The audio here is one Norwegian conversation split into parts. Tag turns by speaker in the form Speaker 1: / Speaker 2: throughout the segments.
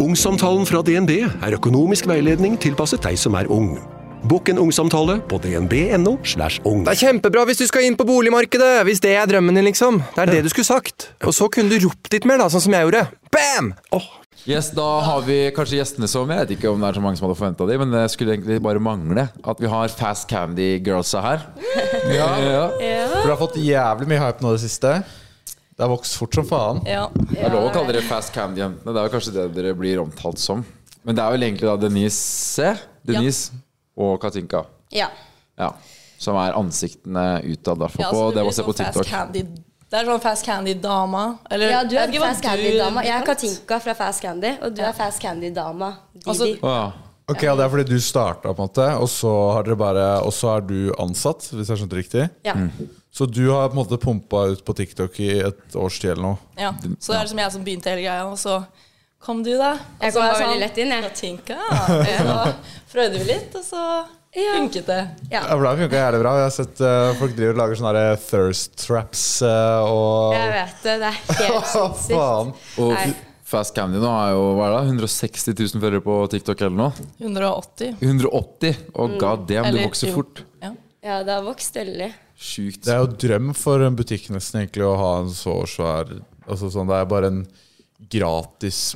Speaker 1: Ungsamtalen fra DNB er økonomisk veiledning tilpasset deg som er ung. Bokk en ungsamtale på dnb.no. slash ung.
Speaker 2: Det er kjempebra hvis du skal inn på boligmarkedet! Hvis det er drømmen din, liksom. Det er det du skulle sagt. Og så kunne du ropt litt mer, da, sånn som jeg gjorde. Bam!
Speaker 3: Yes, da har vi kanskje gjestene som Jeg vet ikke om det er så mange som hadde forventa det, men det skulle egentlig bare mangle at vi har Fast Candy Girlsa her. Eh,
Speaker 4: Ja,
Speaker 5: Ja.
Speaker 4: for det har fått jævlig mye hype nå i det siste. Det har vokst fort som faen.
Speaker 5: Ja.
Speaker 3: Det er lov å kalle dere Fast Candy-jentene. Det er jo kanskje det dere blir omtalt som. Men det er vel egentlig da Denise, eh? Denise og Katinka
Speaker 5: Ja.
Speaker 3: ja, som er ansiktene utad, i hvert fall
Speaker 5: Ja,
Speaker 3: på
Speaker 5: så
Speaker 3: det
Speaker 5: blir
Speaker 3: man ser på
Speaker 5: sånn fast
Speaker 3: TikTok.
Speaker 5: Candy, det er sånn fast candy-dama. Eller
Speaker 6: Ja, du
Speaker 5: jeg
Speaker 6: er
Speaker 5: vet ikke hva
Speaker 6: Fast
Speaker 5: du-
Speaker 6: Candy-dama. Jeg er Katinka fra Fast Candy, og du er Fast Candy-dama.
Speaker 5: Altså,
Speaker 6: Didi.
Speaker 3: Å, ja.
Speaker 4: Ok, og Det er fordi du starta, på en måte, og så, har dere bare, og så er du ansatt, hvis jeg har skjønt det riktig.
Speaker 6: Ja.
Speaker 4: Så du har på en måte pumpa ut på TikTok i et års tid eller noe.
Speaker 5: Ja. Så det er liksom jeg som begynte hele greia, og så kom du, da. Og
Speaker 6: Jeg
Speaker 5: så var
Speaker 6: kom meg
Speaker 5: jeg
Speaker 6: veldig lett inn, jeg.
Speaker 5: Katinka. Ja. Og Frøyde vi litt, og så
Speaker 6: Ja.
Speaker 5: funket det.
Speaker 6: Ja.
Speaker 4: Ja, for Det har funka jævlig bra. Jeg har sett eh, folk driver og lager sånne her thirst traps eh, og
Speaker 6: Jeg vet det. Det er helt
Speaker 4: Hva faen?
Speaker 6: sinnssykt. Nei.
Speaker 3: Og Fast Candy nå er jo hva er det, 160 000 følgere på TikTok eller noe.
Speaker 5: 180.
Speaker 3: 180! Og god damn, det
Speaker 5: Mm. Eller-
Speaker 3: vokser
Speaker 5: jo.
Speaker 3: fort.
Speaker 5: Ja.
Speaker 6: Ja, det har vokst veldig.
Speaker 3: Sjukt.
Speaker 4: Det er jo drøm for en butikk nesten egentlig å ha en så svær altså sånn, Det er bare en gratis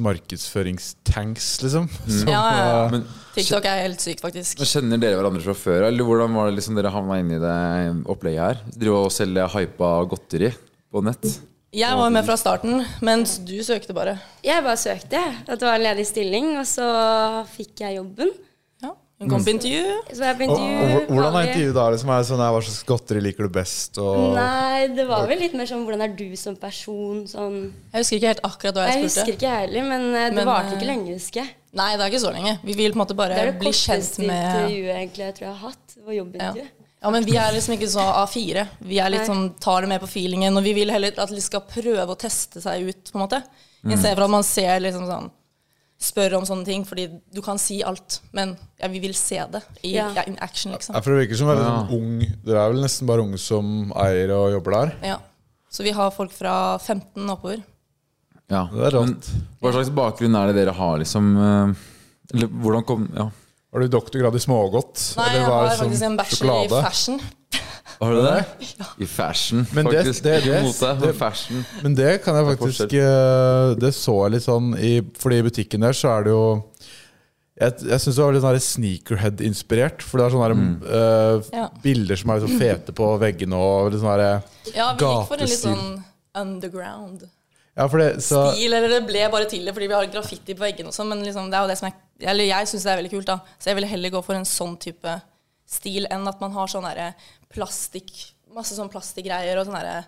Speaker 4: markedsføringstanks, liksom. Som,
Speaker 5: Ja, ja, ja.
Speaker 4: eh,
Speaker 3: Men
Speaker 5: TikTok er helt sykt, faktisk.
Speaker 3: Men Kjenner dere hverandre fra før, eller hvordan var det liksom dere havna inn i det opplegget her? Drive og selge hypa godteri på nett?
Speaker 5: Jeg var med fra starten, mens du søkte bare.
Speaker 6: Jeg bare søkte. jeg. At det var en ledig stilling, og så fikk jeg jobben.
Speaker 5: Ja. Hun kom på intervju.
Speaker 6: Så jeg på
Speaker 4: Og, og
Speaker 6: intervju.
Speaker 4: hvor- hvordan er
Speaker 6: vanlig.
Speaker 4: intervjuet da? Liksom, er det sånn, her, Hva slags godteri liker du best? Og,
Speaker 6: Nei, det var vel litt mer sånn hvordan er du som person? Sånn.
Speaker 5: Jeg husker ikke helt akkurat hva
Speaker 6: Jeg
Speaker 5: jeg
Speaker 6: husker
Speaker 5: spurte.
Speaker 6: ikke jeg heller, men eh,
Speaker 5: Men,
Speaker 6: det varte
Speaker 5: eh,
Speaker 6: ikke lenge, husker jeg.
Speaker 5: Nei, det er ikke så lenge. Vi vil på en måte
Speaker 6: Det
Speaker 5: bare
Speaker 6: er det
Speaker 5: bli kjent
Speaker 6: korteste
Speaker 5: med
Speaker 6: intervjuet egentlig jeg tror jeg har hatt. Var
Speaker 5: ja.
Speaker 6: jobbintervju.
Speaker 5: ja, men vi er liksom ikke så A4. Vi er litt
Speaker 6: Nei.
Speaker 5: sånn, tar det med på feelingen, og vi vil heller at de skal prøve å teste seg ut, på en måte.
Speaker 4: Mm.
Speaker 5: Istedenfor at man ser liksom sånn Spør om sånne ting, fordi du kan si alt, men ja, vi vil se det i
Speaker 6: Ja.
Speaker 5: ja, in action, liksom.
Speaker 4: Ja, for det virker som veldig sånn ung Dere er vel nesten bare unge som eier og jobber der?
Speaker 5: Ja. Så vi har folk fra 15 oppover.
Speaker 3: Ja.
Speaker 4: Det er
Speaker 3: Men
Speaker 4: rått.
Speaker 3: Hva slags bakgrunn er det dere har, liksom? eh, Eller hvordan kom Ja,
Speaker 4: Har du doktorgrad i smågodt?
Speaker 5: Nei,
Speaker 4: eller
Speaker 5: jeg
Speaker 4: hva er
Speaker 5: har
Speaker 4: det som
Speaker 5: faktisk en bachelor
Speaker 4: sjokolade?
Speaker 5: i fashion.
Speaker 3: har du det? I fashion,
Speaker 4: Men det-
Speaker 3: faktisk.
Speaker 4: det-
Speaker 3: Ikke
Speaker 4: det-
Speaker 3: mote, men
Speaker 4: det-
Speaker 3: fashion.
Speaker 4: Men det kan jeg
Speaker 3: Det er
Speaker 4: faktisk eh, Det så jeg litt sånn i, Fordi i butikken der så er det jo Jeg, jeg syns det var litt sånn her sneakerhead-inspirert. For det er sånne her, eh,
Speaker 5: Ja.
Speaker 4: bilder som er liksom fete på veggene og litt sånn her
Speaker 5: Ja, vi gikk for en litt
Speaker 4: Gatestil.
Speaker 5: sånn underground.
Speaker 4: Ja, for det så
Speaker 5: stil, eller det ble bare til det fordi vi har graffiti på veggene og sånn, men liksom, det er jo det som er Eller jeg syns det er veldig kult, da, så jeg ville heller gå for en sånn type stil enn at man har sånn derre plastikk Masse sånn plastikkgreier og sånn derre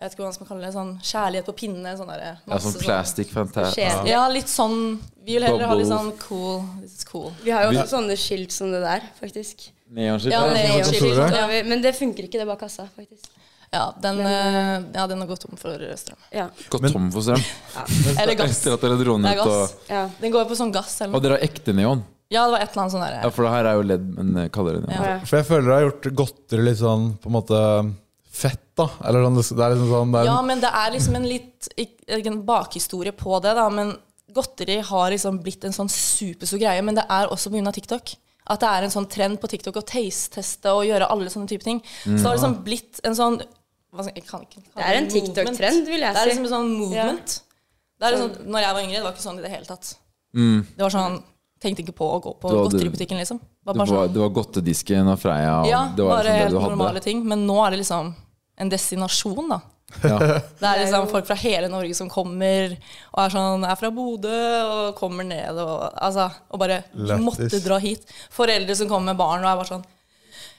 Speaker 5: Jeg vet ikke hva man skal kalle det, sånn kjærlighet på pinne, sånn derre
Speaker 3: Ja,
Speaker 5: masse
Speaker 3: sånn plastic fantasy.
Speaker 6: Skjer.
Speaker 5: Ja, litt sånn Vi vil heller ha litt sånn
Speaker 3: Bubble.
Speaker 5: cool. This is cool.
Speaker 6: Vi har jo også sånne skilt som det der, faktisk.
Speaker 3: Neonskitt.
Speaker 5: Ja,
Speaker 3: Ja,
Speaker 5: det
Speaker 4: neonskilt.
Speaker 5: er
Speaker 4: kontoret.
Speaker 5: skikkelig-
Speaker 6: Det var vi- Men det funker ikke, det er bare kassa, faktisk.
Speaker 5: ja, den, eh, ja, den har gått tom for strøm.
Speaker 6: Ja.
Speaker 3: Gått tom for strøm.
Speaker 5: Eller gass.
Speaker 3: Etter at dere dro
Speaker 5: Det
Speaker 3: ned
Speaker 5: er gass.
Speaker 3: og
Speaker 6: ja.
Speaker 5: Den går på sånn gass eller
Speaker 3: Og
Speaker 5: noe.
Speaker 3: dere har ekte neon.
Speaker 5: Ja, det var et eller annet sånn derre
Speaker 3: Ja, for det her er jo ledd, men eh, kaller det neon.
Speaker 6: Ja.
Speaker 4: For jeg føler jeg har gjort godteri litt sånn på en måte fett, da. Eller sånn, det er liksom sånn det er,
Speaker 5: Ja, men det er liksom en litt ikk- ikke en bakhistorie på det, da. Men godteri har liksom blitt en sånn superstor greie. Men det er også pga. TikTok. At det er en sånn trend på TikTok å taste-teste og gjøre alle sånne type ting. Så det har
Speaker 3: Mm.
Speaker 5: liksom blitt en sånn hva skal- jeg kan ikke kalle
Speaker 6: Det er en
Speaker 5: movement.
Speaker 6: TikTok-trend, vil jeg
Speaker 5: Det er
Speaker 6: si.
Speaker 5: liksom en sånn movement. Det er liksom, når jeg var yngre, det var ikke sånn i det hele tatt. Det var sånn Tenkte ikke på å gå på
Speaker 3: Mm. Du hadde-
Speaker 5: godteributikken, liksom. Det var
Speaker 3: Det
Speaker 5: bare
Speaker 3: var,
Speaker 5: sånn,
Speaker 3: det var godtedisken og Freia. Og
Speaker 5: ja,
Speaker 3: det var liksom
Speaker 5: bare
Speaker 3: det
Speaker 5: helt
Speaker 3: du hadde.
Speaker 5: normale ting. Men nå er det liksom en destinasjon, da.
Speaker 3: Ja.
Speaker 5: Det er liksom folk fra hele Norge som kommer og er sånn er fra Bodø og kommer ned og, altså, og bare «Du
Speaker 4: Lættis.
Speaker 5: måtte dra hit. Foreldre som kommer med barn og er bare sånn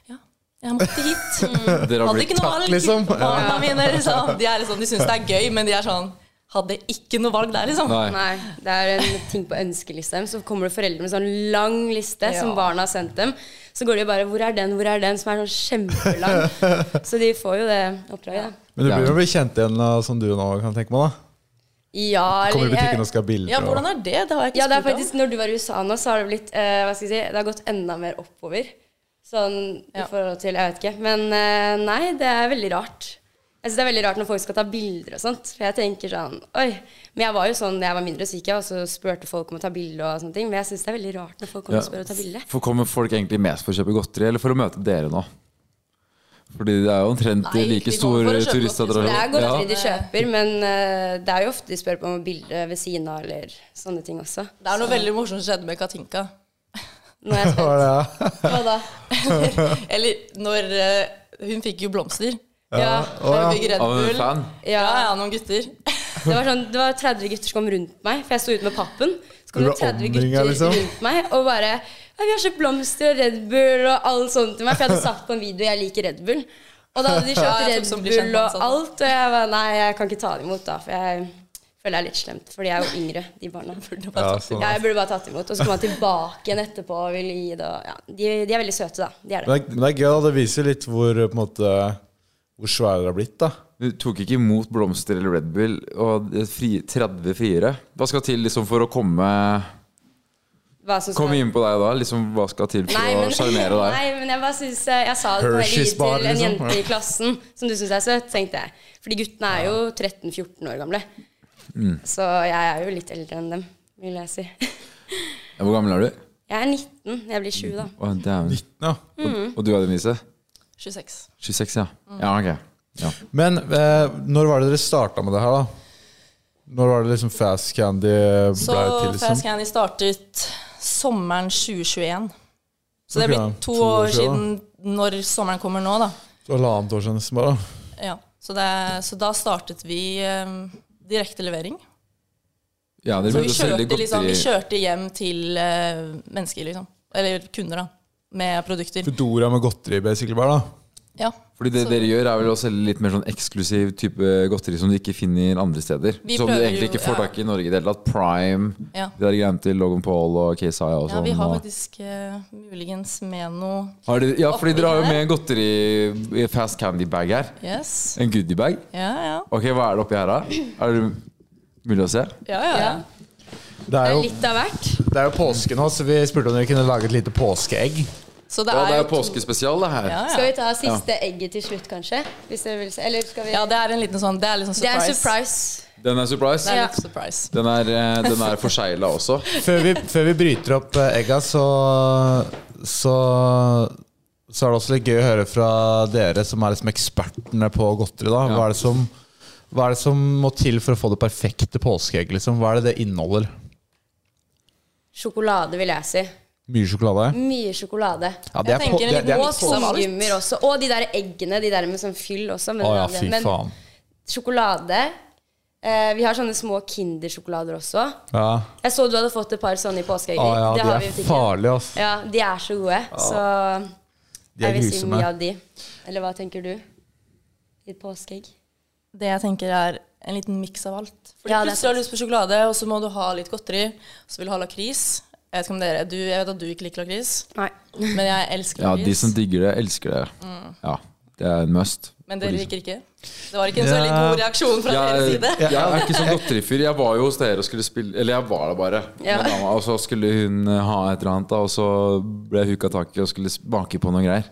Speaker 5: Ja, jeg måtte hit. Mm.
Speaker 3: Dere har
Speaker 5: Hadde
Speaker 3: blitt
Speaker 5: ikke noe valg.
Speaker 4: liksom.
Speaker 5: Barna mine, liksom. De, er liksom, de syns det er gøy, men de er sånn Hadde ikke noe valg der, liksom.
Speaker 3: Nei.
Speaker 6: Nei, det er en ting på ønskelista deres. Så kommer det foreldre med sånn lang liste
Speaker 5: Ja.
Speaker 6: som barna har sendt dem. Så går de bare 'hvor er den', 'hvor er den', som er sånn kjempelang. Så de får jo det oppdraget, da.
Speaker 4: Men du blir jo blitt kjent igjen av som du nå, kan jeg tenke meg. da
Speaker 6: Ja, eller
Speaker 4: Kommer i butikken
Speaker 6: jeg-
Speaker 4: og skal ha bilder.
Speaker 5: eh, Ja, hvordan
Speaker 4: og-
Speaker 5: er det? Det har jeg ikke
Speaker 6: Ja, det er
Speaker 5: spurt om.
Speaker 6: faktisk Når du var i USA nå, så har det blitt eh, Hva skal jeg si Det har gått enda mer oppover. Sånn i
Speaker 5: Ja.
Speaker 6: forhold til Jeg vet ikke. Men eh, nei, det er veldig rart. Jeg synes det er veldig rart når folk skal ta bilder og sånt. For jeg tenker sånn Oi. Men jeg var jo sånn da jeg var mindre, så gikk jeg og så spurte folk om å ta bilde og sånne ting. Men jeg synes det er veldig rart når folk kommer
Speaker 3: Ja.
Speaker 6: og spør å ta bilde.
Speaker 3: For Kommer folk egentlig mest for å kjøpe godteri, eller for å møte dere nå? Fordi det er jo omtrent
Speaker 5: Nei, de
Speaker 3: like
Speaker 5: går
Speaker 3: stor
Speaker 5: for å kjøpe
Speaker 3: turistattraksjon.
Speaker 6: Det er godteri
Speaker 3: Ja.
Speaker 6: de kjøper, men eh, det er jo ofte de spør på om bilde ved siden av eller sånne ting også.
Speaker 5: Det er noe veldig morsomt som skjedde med Katinka.
Speaker 6: Nå er jeg spent. Hva da?
Speaker 5: Eller når eh, Hun fikk jo blomster.
Speaker 6: Ja,
Speaker 5: Hun fikk Red
Speaker 3: Av en
Speaker 5: Bull.
Speaker 3: fan?
Speaker 5: Ja,
Speaker 6: ja.
Speaker 5: ja, noen gutter.
Speaker 6: Det var, sånn, det var 30 gutter som kom rundt meg, for jeg sto ute med pappen. Så kom
Speaker 4: Du
Speaker 6: det
Speaker 4: ble
Speaker 6: 30
Speaker 4: omringet,
Speaker 6: gutter
Speaker 4: liksom?
Speaker 6: rundt meg og bare ja, 'Vi har kjøpt blomster og Red Bull og alt sånt til meg.' For jeg hadde sagt på en video 'Jeg liker Red Bull'. Og da hadde de
Speaker 5: Ja,
Speaker 6: kjøpt
Speaker 5: jeg tok
Speaker 6: Red
Speaker 5: som blir kjent
Speaker 6: Bull
Speaker 5: ansatt.
Speaker 6: og alt. Og jeg var nei, jeg kan ikke ta det imot, da. For jeg føler det er litt slemt. For de er jo yngre, de barna.
Speaker 4: Ja, sånn.
Speaker 6: Ja, jeg burde bare tatt imot. Og så kom han tilbake igjen etterpå og ville gi det. Og, ja. de, de er veldig søte, da. De er det.
Speaker 4: Men, det, men det er gøy, da. Det viser litt hvor, eh, på en måte, hvor svære dere har blitt. da
Speaker 3: Du tok ikke imot blomster eller Red Bull og det er fri, 30 friere. Hva skal til liksom for å komme,
Speaker 6: Hva som skal-
Speaker 3: komme inn på deg da? Liksom, hva skal til for
Speaker 6: Nei, men,
Speaker 3: å sjarmere deg?
Speaker 6: nei, men jeg bare synes eh, Jeg sa det på veldig
Speaker 4: Hershey's
Speaker 6: til
Speaker 4: bar,
Speaker 6: en
Speaker 4: liksom.
Speaker 6: jente i klassen som du syns er søt, tenkte jeg. For de guttene er jo 13-14 år gamle.
Speaker 4: Mm.
Speaker 6: Så jeg er jo litt eldre enn dem, vil jeg si.
Speaker 3: Ja, Hvor gammel er du?
Speaker 6: Jeg er 19. Jeg blir 20 da.
Speaker 3: Å, dæven.
Speaker 4: Ja.
Speaker 5: Mm.
Speaker 3: Og du, Denise?
Speaker 5: 26.
Speaker 3: 26, ja. Ja, ok. Ja.
Speaker 4: Men eh, når var det dere starta med det her, da? Når var det liksom fast candy
Speaker 5: Så
Speaker 4: ble til?
Speaker 5: Fast
Speaker 4: liksom?
Speaker 5: Candy startet sommeren 2021. Så det
Speaker 4: Ok,
Speaker 5: blir to,
Speaker 4: to år
Speaker 5: år siden
Speaker 4: siden,
Speaker 5: når sommeren kommer nå, da.
Speaker 4: Så Halvannet år siden nesten bare. da.
Speaker 5: Ja, så, det, så da startet vi um, direkte levering.
Speaker 3: ja dere
Speaker 5: Så vi
Speaker 3: begynte å selge
Speaker 5: kjørte,
Speaker 3: godteri.
Speaker 5: liksom, vi kjørte hjem til eh, mennesker, liksom. Eller kunder, da. Med produkter.
Speaker 4: Foodora med godteri, basically bare. da
Speaker 5: Ja.
Speaker 3: Fordi det dere gjør, er vel å selge litt mer sånn eksklusiv type godteri som du ikke finner andre steder.
Speaker 5: Vi
Speaker 3: Som du
Speaker 5: prøver
Speaker 3: egentlig
Speaker 5: jo-
Speaker 3: ikke får
Speaker 5: ja.
Speaker 3: tak i i Norge i det hele tatt. Prime,
Speaker 5: Ja.
Speaker 3: de der greiene til Logan Paul og KSI og
Speaker 5: ja,
Speaker 3: sånn.
Speaker 5: vi har
Speaker 3: og-
Speaker 5: faktisk eh, muligens med noe
Speaker 3: Har dere- ja, fordi dere har jo
Speaker 5: Oppi
Speaker 3: med en godteri i fast candy bag her.
Speaker 5: Yes.
Speaker 3: En goodiebag.
Speaker 5: Ja, ja.
Speaker 3: Ok, hva er det oppi her, da? Er det mulig å se?
Speaker 5: Ja, ja, ja.
Speaker 4: Det
Speaker 6: Det
Speaker 4: er
Speaker 6: er
Speaker 4: jo,
Speaker 6: litt av hvert.
Speaker 4: det er jo påske nå, så vi spurte om dere kunne lage et lite påskeegg.
Speaker 5: Så det
Speaker 3: Ja,
Speaker 5: er,
Speaker 3: det er
Speaker 5: jo to-
Speaker 3: påskespesial, det her.
Speaker 5: Ja, ja.
Speaker 6: Skal vi ta siste egget til slutt, kanskje? Hvis dere vil se. Eller skal vi
Speaker 5: Ja, det er en liten sånn Det er liksom
Speaker 6: Det er
Speaker 5: surprise.
Speaker 6: en surprise.
Speaker 3: Den er surprise.
Speaker 5: Det er
Speaker 6: Ja.
Speaker 5: litt surprise.
Speaker 3: Den er, eh, den er forsegla også.
Speaker 4: Før vi, før vi bryter opp eh, egga, så, så Så er det også litt gøy å høre fra dere som er liksom ekspertene på godteri. da Hva er det som hva er det som må til for å få det perfekte påskeegg? Liksom? Hva er det det inneholder?
Speaker 6: Sjokolade, vil jeg si.
Speaker 4: Mye sjokolade?
Speaker 6: Mye sjokolade.
Speaker 4: Ja, det sånn-
Speaker 5: Jeg tenker en liten
Speaker 6: Og
Speaker 5: Mix av alt.
Speaker 6: skumgummier også. Og de der eggene, de der med sånn fyll også. Men,
Speaker 4: Å ja, fy
Speaker 6: men
Speaker 4: faen.
Speaker 6: sjokolade eh, Vi har sånne små Kindersjokolader også.
Speaker 4: Ja.
Speaker 6: Jeg så du hadde fått et par sånne i påskeegget.
Speaker 4: Å ja,
Speaker 6: Det
Speaker 4: de
Speaker 6: har vi i
Speaker 4: er
Speaker 6: butikken.
Speaker 4: farlige, ass.
Speaker 6: Ja, de er så gode. Så
Speaker 4: De
Speaker 6: jeg
Speaker 4: er
Speaker 6: vil si
Speaker 4: grusomme.
Speaker 6: mye av de. Eller hva tenker du? I et påskeegg?
Speaker 5: Det jeg tenker er en liten miks av alt. Fordi
Speaker 6: Ja, det er
Speaker 5: plutselig har du lyst på sjokolade, og så må du ha litt godteri. Så vil du ha lakris. Jeg vet ikke om dere du, Jeg vet at du ikke liker lakris,
Speaker 6: Nei.
Speaker 5: men jeg elsker
Speaker 3: Ja,
Speaker 5: lakris.
Speaker 3: de som digger det, elsker det. Ja, det er en must.
Speaker 5: Mm. men dere
Speaker 3: For de som-
Speaker 5: liker ikke? Det var ikke en så
Speaker 4: Ja.
Speaker 5: veldig god reaksjon fra deres
Speaker 3: jeg,
Speaker 5: side.
Speaker 3: jeg er ikke sånn godterifyr. Jeg var jo hos dere og skulle spille Eller jeg var der bare.
Speaker 6: Ja.
Speaker 3: Med dama, og så skulle hun eh, ha et eller annet, da, og så ble jeg huka tak i og skulle smake på noen greier.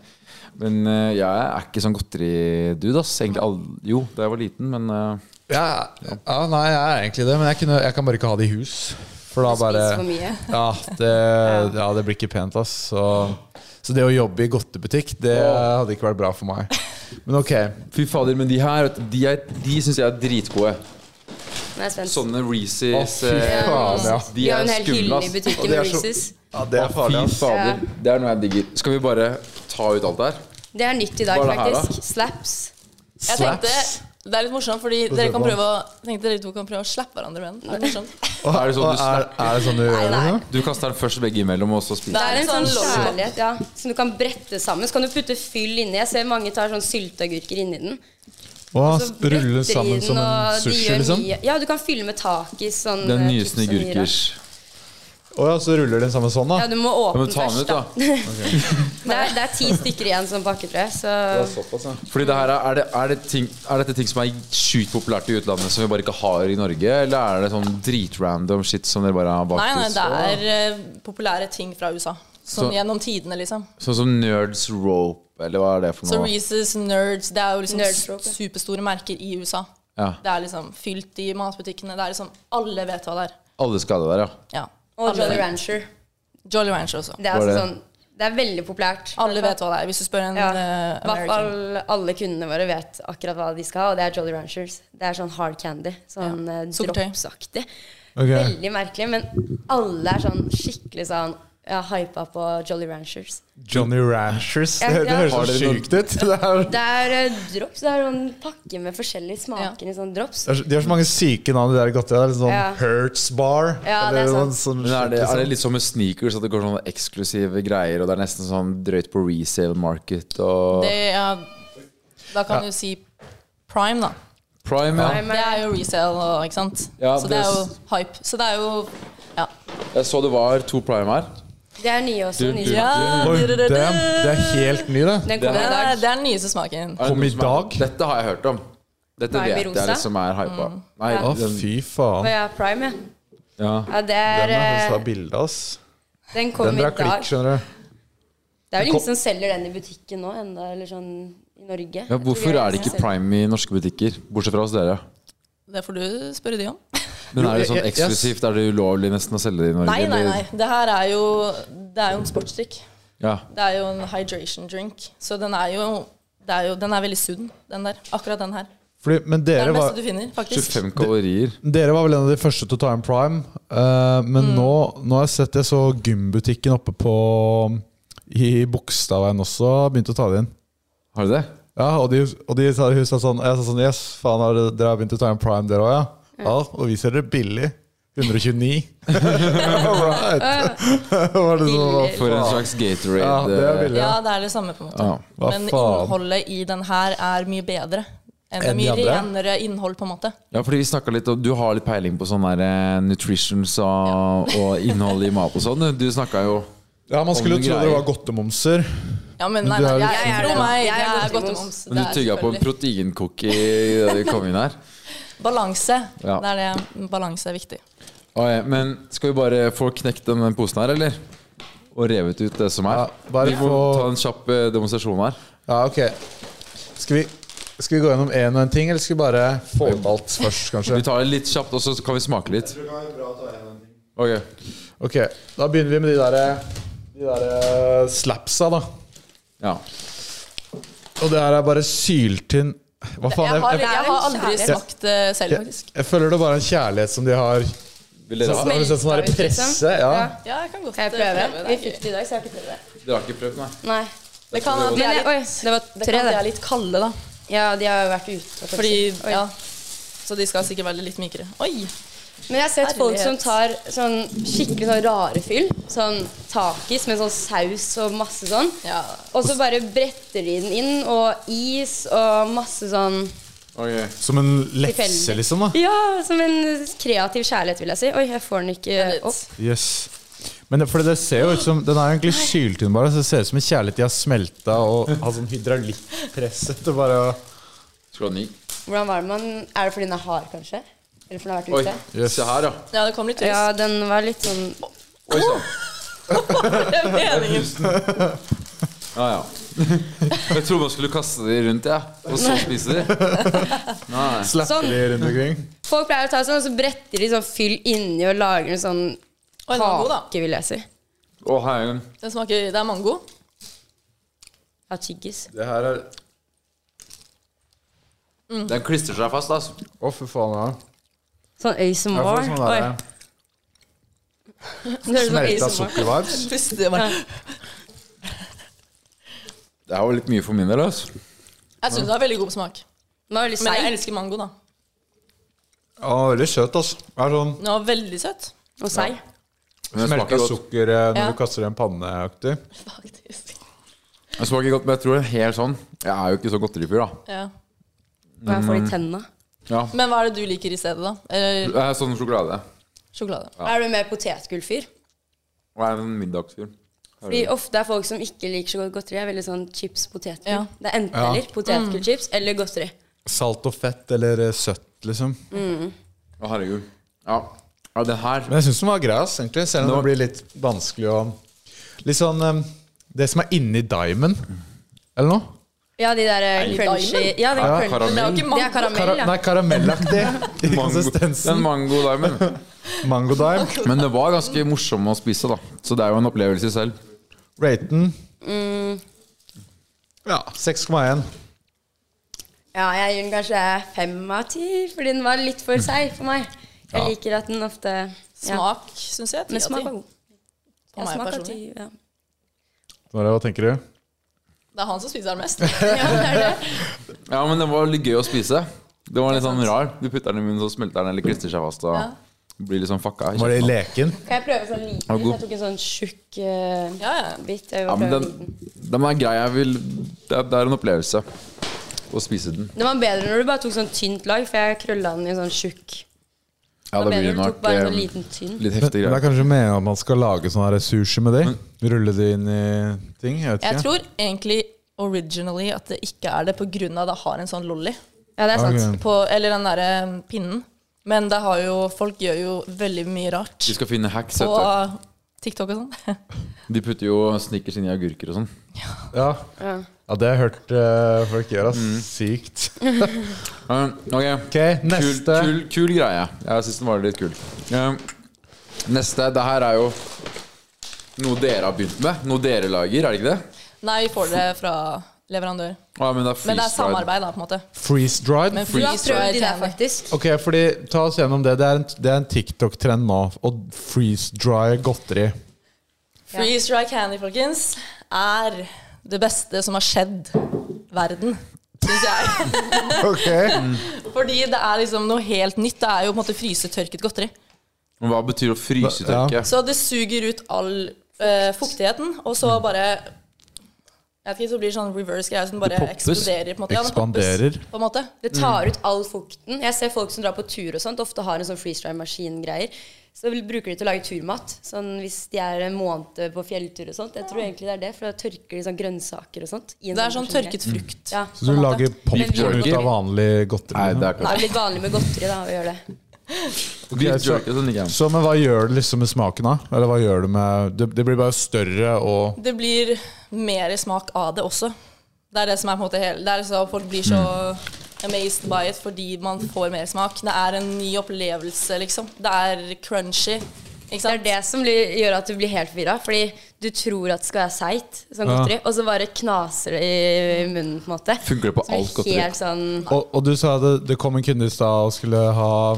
Speaker 3: Men eh, jeg er ikke sånn godteridude, ass. Egentlig all- Jo, da jeg var liten, men eh,
Speaker 4: Ja, ja, nei, jeg er egentlig det, men jeg, kunne, jeg kan bare ikke ha det i hus. For da bare
Speaker 6: Spiser for mye.
Speaker 4: Ja, det, ja, det blir ikke pent, ass. Så, så det å jobbe i godtebutikk, det hadde ikke vært bra for meg. Men ok.
Speaker 3: Fy fader, men de her, vet du, de, er- de syns jeg er dritgode.
Speaker 6: Nå er jeg spent.
Speaker 3: Sånne
Speaker 4: Å,
Speaker 3: Reeseys
Speaker 4: fy
Speaker 3: eh,
Speaker 4: faen, ja.
Speaker 3: Sånn- De
Speaker 6: Vi har
Speaker 3: er
Speaker 6: en hel
Speaker 3: skumle,
Speaker 6: hylle i
Speaker 3: ass.
Speaker 4: Og
Speaker 6: butikken
Speaker 4: det
Speaker 6: med
Speaker 4: er så-
Speaker 6: Reese's.
Speaker 4: Ja, det er
Speaker 3: Fy
Speaker 4: farlig, ass.
Speaker 3: fader. Det er noe jeg digger. Skal vi bare ta ut alt det her?
Speaker 6: Det er nytt i dag,
Speaker 3: Hva er det her,
Speaker 6: faktisk. Slaps.
Speaker 5: Jeg tenkte det er litt morsomt, fordi dere kan prøve å jeg tenkte dere to kan prøve å slappe hverandre med den. Er det morsomt?
Speaker 4: Og,
Speaker 3: Er
Speaker 4: er,
Speaker 3: det sånn du
Speaker 4: er, det sånn du gjør det?
Speaker 6: nei.
Speaker 4: nå?
Speaker 3: Du kaster den først begge imellom, og så
Speaker 6: Det
Speaker 3: spiser
Speaker 5: Nei.
Speaker 6: er en
Speaker 5: Sånn
Speaker 6: sånn
Speaker 5: lolly.
Speaker 6: kjærlighet ja, som du kan brette sammen. Så kan du putte fyll inni. Jeg ser mange tar sånn sylteagurker inni den.
Speaker 4: Å,
Speaker 6: Så
Speaker 4: ruller den
Speaker 6: bretter de
Speaker 4: sammen
Speaker 6: den,
Speaker 4: som
Speaker 6: Altså, og
Speaker 4: en
Speaker 6: de
Speaker 4: sushi,
Speaker 6: gjør
Speaker 4: liksom?
Speaker 6: mye- Ja, du kan fylle med takis. Sånn,
Speaker 3: Den
Speaker 6: eh,
Speaker 3: nysende
Speaker 6: chips og gyra.
Speaker 3: gurkers.
Speaker 4: Å ja, så ruller den sammen sånn, da?
Speaker 6: Ja, du må
Speaker 3: Ja,
Speaker 6: åpne
Speaker 3: men ta den
Speaker 6: først,
Speaker 3: ut,
Speaker 6: da.
Speaker 3: da.
Speaker 6: Det er, det er ti stykker igjen som pakke, tror jeg. Så
Speaker 3: Fordi det her er, er, det, er, det ting, er dette ting som er sjukt populært i utlandet, som vi bare ikke har i Norge? Eller er det sånn dritrandom shit som dere bare har
Speaker 5: Nei, nei,
Speaker 3: bakt
Speaker 5: det
Speaker 3: ut?
Speaker 5: er eh, populære ting fra USA. Som
Speaker 3: Så-
Speaker 5: gjennom tidene, liksom.
Speaker 3: Sånn som Nerds Rope Eller hva er det for
Speaker 5: Så
Speaker 3: noe?
Speaker 5: Reese's, Nerds, det er jo liksom
Speaker 6: Nerds, tror jeg.
Speaker 5: superstore merker i USA.
Speaker 3: Ja.
Speaker 5: Det er liksom fylt i matbutikkene. Det er liksom Alle vet hva det er.
Speaker 3: Alle skader der, ja.
Speaker 5: Ja.
Speaker 6: Og
Speaker 5: Alle
Speaker 6: Jolly
Speaker 5: vet.
Speaker 6: Rancher.
Speaker 5: Jolly Rancher også.
Speaker 6: Det er,
Speaker 3: Var
Speaker 6: altså
Speaker 3: det-
Speaker 6: sånn, det er veldig populært.
Speaker 5: Alle vet hva det er, hvis du spør en
Speaker 6: Ja.
Speaker 5: eh,
Speaker 6: I hvert
Speaker 5: American.
Speaker 6: fall alle kundene våre vet akkurat hva de skal ha, og det er Jolly Ranchers. Det er sånn hard candy. Sånn
Speaker 5: Ja.
Speaker 6: eh,
Speaker 5: Sukkertøy.
Speaker 6: dropsaktig.
Speaker 4: Ok.
Speaker 6: Veldig merkelig, men alle er sånn skikkelig sånn ja, hypa på Jolly Ranchers.
Speaker 4: Johnny Ranchers.
Speaker 6: Ja,
Speaker 4: Det, det
Speaker 6: ja.
Speaker 4: høres
Speaker 3: Har
Speaker 4: så
Speaker 3: dere noen-
Speaker 4: sjukt ut. Det er,
Speaker 6: Det er eh, drops. Det er sånn pakke med forskjellige smaker i sånn drops.
Speaker 4: det er så- de har så mange syke navn, de der godtene. Det er Sånn
Speaker 6: Ja.
Speaker 4: Hertz Bar.
Speaker 6: Ja, det er
Speaker 4: eller noe
Speaker 6: sant.
Speaker 4: sånn
Speaker 3: Men er det,
Speaker 4: sjukt,
Speaker 3: er det
Speaker 4: liksom.
Speaker 3: litt som med sneakers, at det går sånne eksklusive greier, og det er nesten sånn drøyt på resale market og
Speaker 5: Det er, da kan du si prime, da.
Speaker 3: Prime, ja.
Speaker 6: Prime.
Speaker 5: Det er jo resale, og- ikke sant?
Speaker 3: Ja,
Speaker 5: så det er jo
Speaker 3: det-
Speaker 5: hype. Så det er jo Ja.
Speaker 3: Jeg så det var to prime her.
Speaker 6: Det er nye også.
Speaker 3: Du-
Speaker 6: Nye
Speaker 3: du-
Speaker 6: smaker.
Speaker 4: Oi,
Speaker 5: du- du- du-
Speaker 4: damn, det er helt ny, det.
Speaker 6: Den kommer
Speaker 5: Det
Speaker 6: i
Speaker 5: er,
Speaker 6: dag.
Speaker 5: det er den nyeste smaken.
Speaker 3: Er det
Speaker 4: Kom
Speaker 3: noe
Speaker 4: i
Speaker 3: som er-
Speaker 4: dag?
Speaker 3: Dette har jeg hørt om. Dette
Speaker 6: Prime i
Speaker 3: vet
Speaker 6: rosa?
Speaker 3: jeg liksom er hypa.
Speaker 5: Mm.
Speaker 3: Nei,
Speaker 4: Å,
Speaker 3: den-
Speaker 4: fy
Speaker 6: Å
Speaker 4: faen.
Speaker 6: ja, Prime, ja.
Speaker 3: ja.
Speaker 6: ja det
Speaker 4: Den må
Speaker 6: er,
Speaker 4: jeg faktisk
Speaker 6: eh,
Speaker 4: ha bilde, ass.
Speaker 6: den
Speaker 4: Den
Speaker 6: kommer i
Speaker 4: drar
Speaker 6: dag.
Speaker 4: klikk, skjønner du.
Speaker 6: Det er vel ingen som selger den i butikken nå enda, eller sånn i Norge.
Speaker 3: Ja, hvorfor er det ikke prime i norske butikker, bortsett fra hos dere?
Speaker 5: Det får du spørre de om.
Speaker 3: Men er det
Speaker 4: Jo,
Speaker 3: sånn
Speaker 4: jeg- jeg-
Speaker 3: eksklusivt? Er det ulovlig nesten å selge det i Norge?
Speaker 5: Nei, nei,
Speaker 3: eller?
Speaker 5: nei. Det her er jo Det er jo en sportsdrikk.
Speaker 3: Ja.
Speaker 5: Det er jo en hydration drink. Så den er jo, det er jo Den er veldig sunn, den der. Akkurat den her.
Speaker 4: Fordi, men
Speaker 5: Det er
Speaker 4: dere
Speaker 5: den
Speaker 4: var
Speaker 5: beste du finner, faktisk.
Speaker 3: 25 kalorier.
Speaker 4: Dere var vel en av de første til å ta en prime. eh,
Speaker 5: Mm.
Speaker 4: men nå, nå har jeg sett jeg så gymbutikken oppe på I Bogstadveien også begynte å ta det inn.
Speaker 3: Har du det?
Speaker 4: Ja, Og de, og de sa, hun sa sånn Jeg sa sånn Yes, faen, har dere, dere har begynt å ta en prime, dere òg, ja? ja? Og vi selger det billig. 129. All right. Var det sånn, hva
Speaker 3: For en
Speaker 4: faen?
Speaker 3: slags Gatorade.
Speaker 4: Ja, det er
Speaker 3: eh,
Speaker 4: billig. Ja.
Speaker 5: Ja, det er det samme, på en måte.
Speaker 3: Ja.
Speaker 4: Hva
Speaker 5: Men
Speaker 4: faen?
Speaker 5: innholdet i den her er mye bedre. Enn
Speaker 4: Enn
Speaker 5: det er
Speaker 4: de
Speaker 5: mye
Speaker 4: andre?
Speaker 5: renere innhold, på en måte.
Speaker 3: eh, Ja, fordi vi snakket litt om Du har litt peiling på sånn der eh, nutritions og, og innhold i mat og sånn. Du snakka jo
Speaker 4: Ja, man skulle
Speaker 3: Om
Speaker 4: tro
Speaker 3: greier.
Speaker 4: dere var godtemomser.
Speaker 5: Ja, men
Speaker 4: Men
Speaker 5: nei,
Speaker 4: du
Speaker 5: nei,
Speaker 4: er jo
Speaker 5: jeg,
Speaker 6: sunn.
Speaker 5: tro meg,
Speaker 6: Jeg er
Speaker 5: jeg er
Speaker 6: godt i
Speaker 5: godtemoms.
Speaker 3: Men du tygga på en proteincookie da du kom inn her.
Speaker 5: Balanse.
Speaker 3: Ja.
Speaker 5: Det er det. Balanse er viktig.
Speaker 3: Oi, men skal vi bare få knekt den posen her, eller? Og revet ut det som er?
Speaker 4: Ja, bare
Speaker 3: vi må
Speaker 4: få-
Speaker 3: ta en kjapp eh, demonstrasjon her.
Speaker 4: Ja, ok Skal vi, skal vi gå gjennom én og en ting, eller skal vi bare få ut alt først, kanskje?
Speaker 3: Vi tar det litt kjapt, og så kan vi smake litt. Ok.
Speaker 4: Ok, da begynner vi med de der, de der eh, slapsa, da.
Speaker 3: Ja.
Speaker 4: Og det her er bare syltynn Hva faen?
Speaker 5: Jeg har,
Speaker 4: Jeg, jeg,
Speaker 5: jeg har aldri
Speaker 6: kjærlighet.
Speaker 5: smakt det selv,
Speaker 4: jeg,
Speaker 5: faktisk.
Speaker 4: jeg føler det er bare en kjærlighet som de har
Speaker 3: Vil dere ha?
Speaker 4: Har du sett sånn der
Speaker 6: Smelter ut, liksom.
Speaker 4: presse? Ja.
Speaker 6: Ja.
Speaker 5: Ja, jeg kan godt
Speaker 6: Kan jeg
Speaker 5: eh,
Speaker 6: prøve? Vi
Speaker 5: det.
Speaker 6: fikk det i dag, så jeg har ikke prøvd det.
Speaker 3: Dere har ikke prøvd, nei?
Speaker 6: Nei.
Speaker 5: Det kan at de
Speaker 6: Men
Speaker 5: er
Speaker 6: jeg,
Speaker 5: litt,
Speaker 6: oi, det var
Speaker 5: det
Speaker 6: tre,
Speaker 5: kan at de er
Speaker 6: det.
Speaker 5: litt kalde, da.
Speaker 6: Ja, de har jo vært ute. og
Speaker 5: Fordi,
Speaker 6: Oi.
Speaker 5: ja Så de skal sikkert være litt mykere. Oi!
Speaker 6: Men jeg har sett folk som
Speaker 5: Herlighet.
Speaker 6: tar sånn skikkelig sånn rare fyll. Sånn takis med sånn saus og masse sånn.
Speaker 5: Ja.
Speaker 6: Og så bare bretter de den inn, og is og masse sånn
Speaker 3: Ok.
Speaker 4: Som en lefse,
Speaker 6: Tilfeldig.
Speaker 4: liksom. da
Speaker 6: Ja, som en kreativ kjærlighet, vil jeg si. Oi, jeg får den ikke
Speaker 5: litt.
Speaker 6: opp.
Speaker 4: Yes. Men det, for det ser jo ut som Den er egentlig syltynn, bare. Så det ser ut som en kjærlighet de har smelta og har sånn hydraulikkpresset. og bare
Speaker 3: Skal du ha ny?
Speaker 6: Hvordan var det man Er det fordi den er hard, kanskje? Eller fordi den har
Speaker 3: Oi,
Speaker 6: vært ute?
Speaker 3: se her, ja.
Speaker 5: Ja, det kom litt
Speaker 6: Ja,
Speaker 5: turist.
Speaker 6: den var litt sånn
Speaker 3: Oi sann.
Speaker 5: Det er meningen.
Speaker 3: Ja, ja. Jeg trodde man skulle kaste de rundt, jeg. Ja. Og så spise de. Nei.
Speaker 4: slapper
Speaker 6: Sånn.
Speaker 4: de rundt omkring.
Speaker 6: Folk pleier å ta sånn, og så bretter de sånn fyll inni og lager en sånn
Speaker 5: Oi, den var god, da.
Speaker 6: kake, vil jeg si.
Speaker 3: Å, herregud.
Speaker 5: Den smaker Det er mango.
Speaker 6: Av tyggis.
Speaker 4: Det her er
Speaker 3: Den klistrer seg fast, altså.
Speaker 4: Å, fy faen. Ja.
Speaker 6: Sånn
Speaker 4: Jeg
Speaker 6: ASMR.
Speaker 4: får sånn
Speaker 6: Oi,
Speaker 4: der,
Speaker 6: det høres ut som
Speaker 4: smelta
Speaker 6: ASMR.
Speaker 4: sukker-vibes.
Speaker 5: Puste, det var-
Speaker 3: Det her var litt mye for min del, altså.
Speaker 5: Jeg syns det har veldig god smak.
Speaker 6: Den var veldig
Speaker 5: Men jeg
Speaker 6: seig.
Speaker 5: elsker mango, da.
Speaker 4: Ja, veldig søt, altså. Det er sånn
Speaker 5: Den var veldig søt.
Speaker 6: Og seig.
Speaker 3: Men den
Speaker 4: smelta
Speaker 3: smaker godt.
Speaker 4: sukker eh, når
Speaker 5: Ja.
Speaker 4: du kaster i en panne-aktig.
Speaker 5: Faktisk.
Speaker 3: Den smaker godt, men jeg tror det er helt sånn. Jeg er jo ikke så godterifyr, da.
Speaker 5: Ja.
Speaker 6: Og jeg får de tenna.
Speaker 3: Ja.
Speaker 5: Men hva er det du liker i stedet, da? Eller
Speaker 3: Jeg er sånn sjokolade.
Speaker 5: sjokolade?
Speaker 6: Er du mer potetgullfyr?
Speaker 3: Og jeg er en middagsfyr.
Speaker 6: Fordi ofte er folk som ikke liker så godt godteri, er veldig sånn chips, potetgull.
Speaker 5: Ja.
Speaker 6: Det er enten
Speaker 4: Ja.
Speaker 3: Mm.
Speaker 6: eller. Potetgullchips eller godteri.
Speaker 4: Salt og fett eller eh, søtt, liksom.
Speaker 3: Å, herregud. Ja. ja, det her
Speaker 4: Men jeg syns den var grei, ass, egentlig. Selv om
Speaker 3: Nå-
Speaker 4: det blir litt vanskelig å Litt sånn eh, Det som er inni diamond, Eller noe?
Speaker 6: Ja, de der eh,
Speaker 5: det
Speaker 6: crunchy
Speaker 5: diamond?
Speaker 6: Ja,
Speaker 3: Ja,
Speaker 6: den
Speaker 5: Det er
Speaker 6: crunchy.
Speaker 5: jo
Speaker 3: karamell.
Speaker 5: ikke
Speaker 6: Det er
Speaker 5: mango.
Speaker 6: karamell,
Speaker 4: Kara
Speaker 6: ja.
Speaker 4: nei, karamellaktig i
Speaker 3: Mango, den
Speaker 4: konsistensen.
Speaker 3: mango-limen.
Speaker 4: Mangodime.
Speaker 3: Men det var ganske morsomt å spise, da. Så det er jo en opplevelse i selv.
Speaker 4: Rate den.
Speaker 6: Mm.
Speaker 4: Ja, 6,1.
Speaker 6: Ja, jeg gir den kanskje fem av ti, fordi den var litt for seig for meg. Jeg liker at den ofte ja.
Speaker 5: Smak syns jeg er
Speaker 6: Men
Speaker 5: ti
Speaker 6: smak
Speaker 5: av ti.
Speaker 6: var god.
Speaker 5: For
Speaker 6: Ja,
Speaker 5: meg
Speaker 6: smak var
Speaker 5: personlig.
Speaker 6: ti, ja.
Speaker 4: Mara, hva tenker du?
Speaker 5: Det er han som spiser den mest.
Speaker 6: ja, det er det.
Speaker 3: Ja, men det var litt gøy å spise. Det var litt sånn rar. Du putter den i munnen, så smelter den eller klistrer seg fast. Og
Speaker 5: Ja.
Speaker 3: blir litt sånn fucka.
Speaker 4: Var det leken?
Speaker 6: Kan jeg prøve sånn liten?
Speaker 3: god.
Speaker 6: Jeg tok en sånn tjukk eh,
Speaker 5: Ja, ja.
Speaker 6: bit. Jeg vil
Speaker 3: Ja, men
Speaker 6: prøve
Speaker 3: den,
Speaker 6: liten.
Speaker 3: den er grei. Jeg vil det er, det er en opplevelse å spise den.
Speaker 6: Den var bedre når du bare tok sånn tynt lag, for jeg krølla den i sånn tjukk.
Speaker 3: Ja,
Speaker 6: Det var
Speaker 3: da blir
Speaker 6: bedre
Speaker 3: det
Speaker 6: når du
Speaker 3: nok
Speaker 6: tok bare en
Speaker 3: eh,
Speaker 6: sånn liten tynn.
Speaker 3: litt
Speaker 4: Men,
Speaker 3: heftig
Speaker 4: men det er
Speaker 3: greier. Mm.
Speaker 4: kanskje meningen at man skal lage sånne her sushi med de? Rulle de inn i ting? Jeg vet
Speaker 5: Jeg
Speaker 4: ikke.
Speaker 5: tror egentlig originally at det ikke er det pga. at det har en sånn lolly.
Speaker 6: Ja, det er sant.
Speaker 4: Ok.
Speaker 5: På, eller den derre pinnen. Men det har jo, folk gjør jo veldig mye rart.
Speaker 3: Vi skal finne hacks.
Speaker 5: På
Speaker 3: vet
Speaker 5: TikTok og sånn.
Speaker 3: du. De putter jo snickers inn i agurker og sånn.
Speaker 4: Ja.
Speaker 6: Ja.
Speaker 4: ja, det har jeg hørt eh, folk gjøre. ass.
Speaker 3: Mm.
Speaker 4: Sykt.
Speaker 3: Eh, ok,
Speaker 4: Ok,
Speaker 3: kul,
Speaker 4: neste.
Speaker 3: kul, kul greie. Jeg syns den var litt kul. Eh, neste. Det her er jo noe dere har begynt med. Noe dere lager, er det ikke det?
Speaker 5: Nei, vi får det fra leverandør.
Speaker 3: Ah, men det er,
Speaker 5: Men det er
Speaker 3: freeze-dried.
Speaker 5: samarbeid, da, på en måte.
Speaker 4: Freeze dried.
Speaker 5: Men
Speaker 6: Du
Speaker 5: freeze
Speaker 6: har prøvd de der,
Speaker 5: candy.
Speaker 6: faktisk.
Speaker 4: Ok, fordi Ta oss gjennom det. Det er en, det er en TikTok-trend nå å freeze dry godteri.
Speaker 5: Freeze dry candy, folkens, er det beste som har skjedd verden, syns jeg.
Speaker 4: Ok
Speaker 5: Fordi det er liksom noe helt nytt. Det er jo på en måte frysetørket godteri.
Speaker 3: Men Hva betyr å frysetørke?
Speaker 4: Ja.
Speaker 5: Så det suger ut all eh, fuktigheten, og så bare jeg vet ikke, så blir det sånn reverse-greie som bare
Speaker 3: poppes.
Speaker 5: eksploderer. på en måte. Ja, det poppes,
Speaker 4: Ekspanderer.
Speaker 5: på en måte.
Speaker 6: Det
Speaker 4: Mm.
Speaker 6: tar ut all fukten. Jeg ser folk som drar på tur og sånt, ofte har en sånn freeze-dry-maskin-greier. Så bruker de til å lage turmat. Sånn hvis de er en måned på fjelltur og sånt. Jeg tror egentlig det er det, for da tørker de sånn grønnsaker og sånt. i en
Speaker 5: Det er sånn
Speaker 6: maskin-greie.
Speaker 5: tørket frukt.
Speaker 6: Ja,
Speaker 4: Så du lager popkorn ut
Speaker 3: jerky.
Speaker 4: av vanlig godteri?
Speaker 3: Nei, det er
Speaker 6: Det
Speaker 3: klart.
Speaker 6: er litt vanlig med godteri, da, å gjøre det.
Speaker 3: Beef
Speaker 4: så-
Speaker 3: jerky, sånn liker jeg.
Speaker 4: Så, men hva gjør det liksom med smaken, da? Eller hva gjør det med Det, det blir bare større og
Speaker 5: Det blir mer smak av det også. Det er det som er på en måte hele Det er så Folk blir så amazed by it fordi man får mer smak. Det er en ny opplevelse, liksom. Det er crunchy. Ikke
Speaker 6: Det
Speaker 5: sant?
Speaker 6: er det som blir, gjør at du blir helt forvirra. Fordi du tror at det skal være seigt, sånn
Speaker 4: Ja.
Speaker 6: godteri, og så bare knaser det i munnen. på en måte
Speaker 3: Funker det på
Speaker 6: Så blir
Speaker 3: alt godteri?
Speaker 6: Helt sånn
Speaker 4: Og, og du sa det, det kom en kunde i stad og skulle ha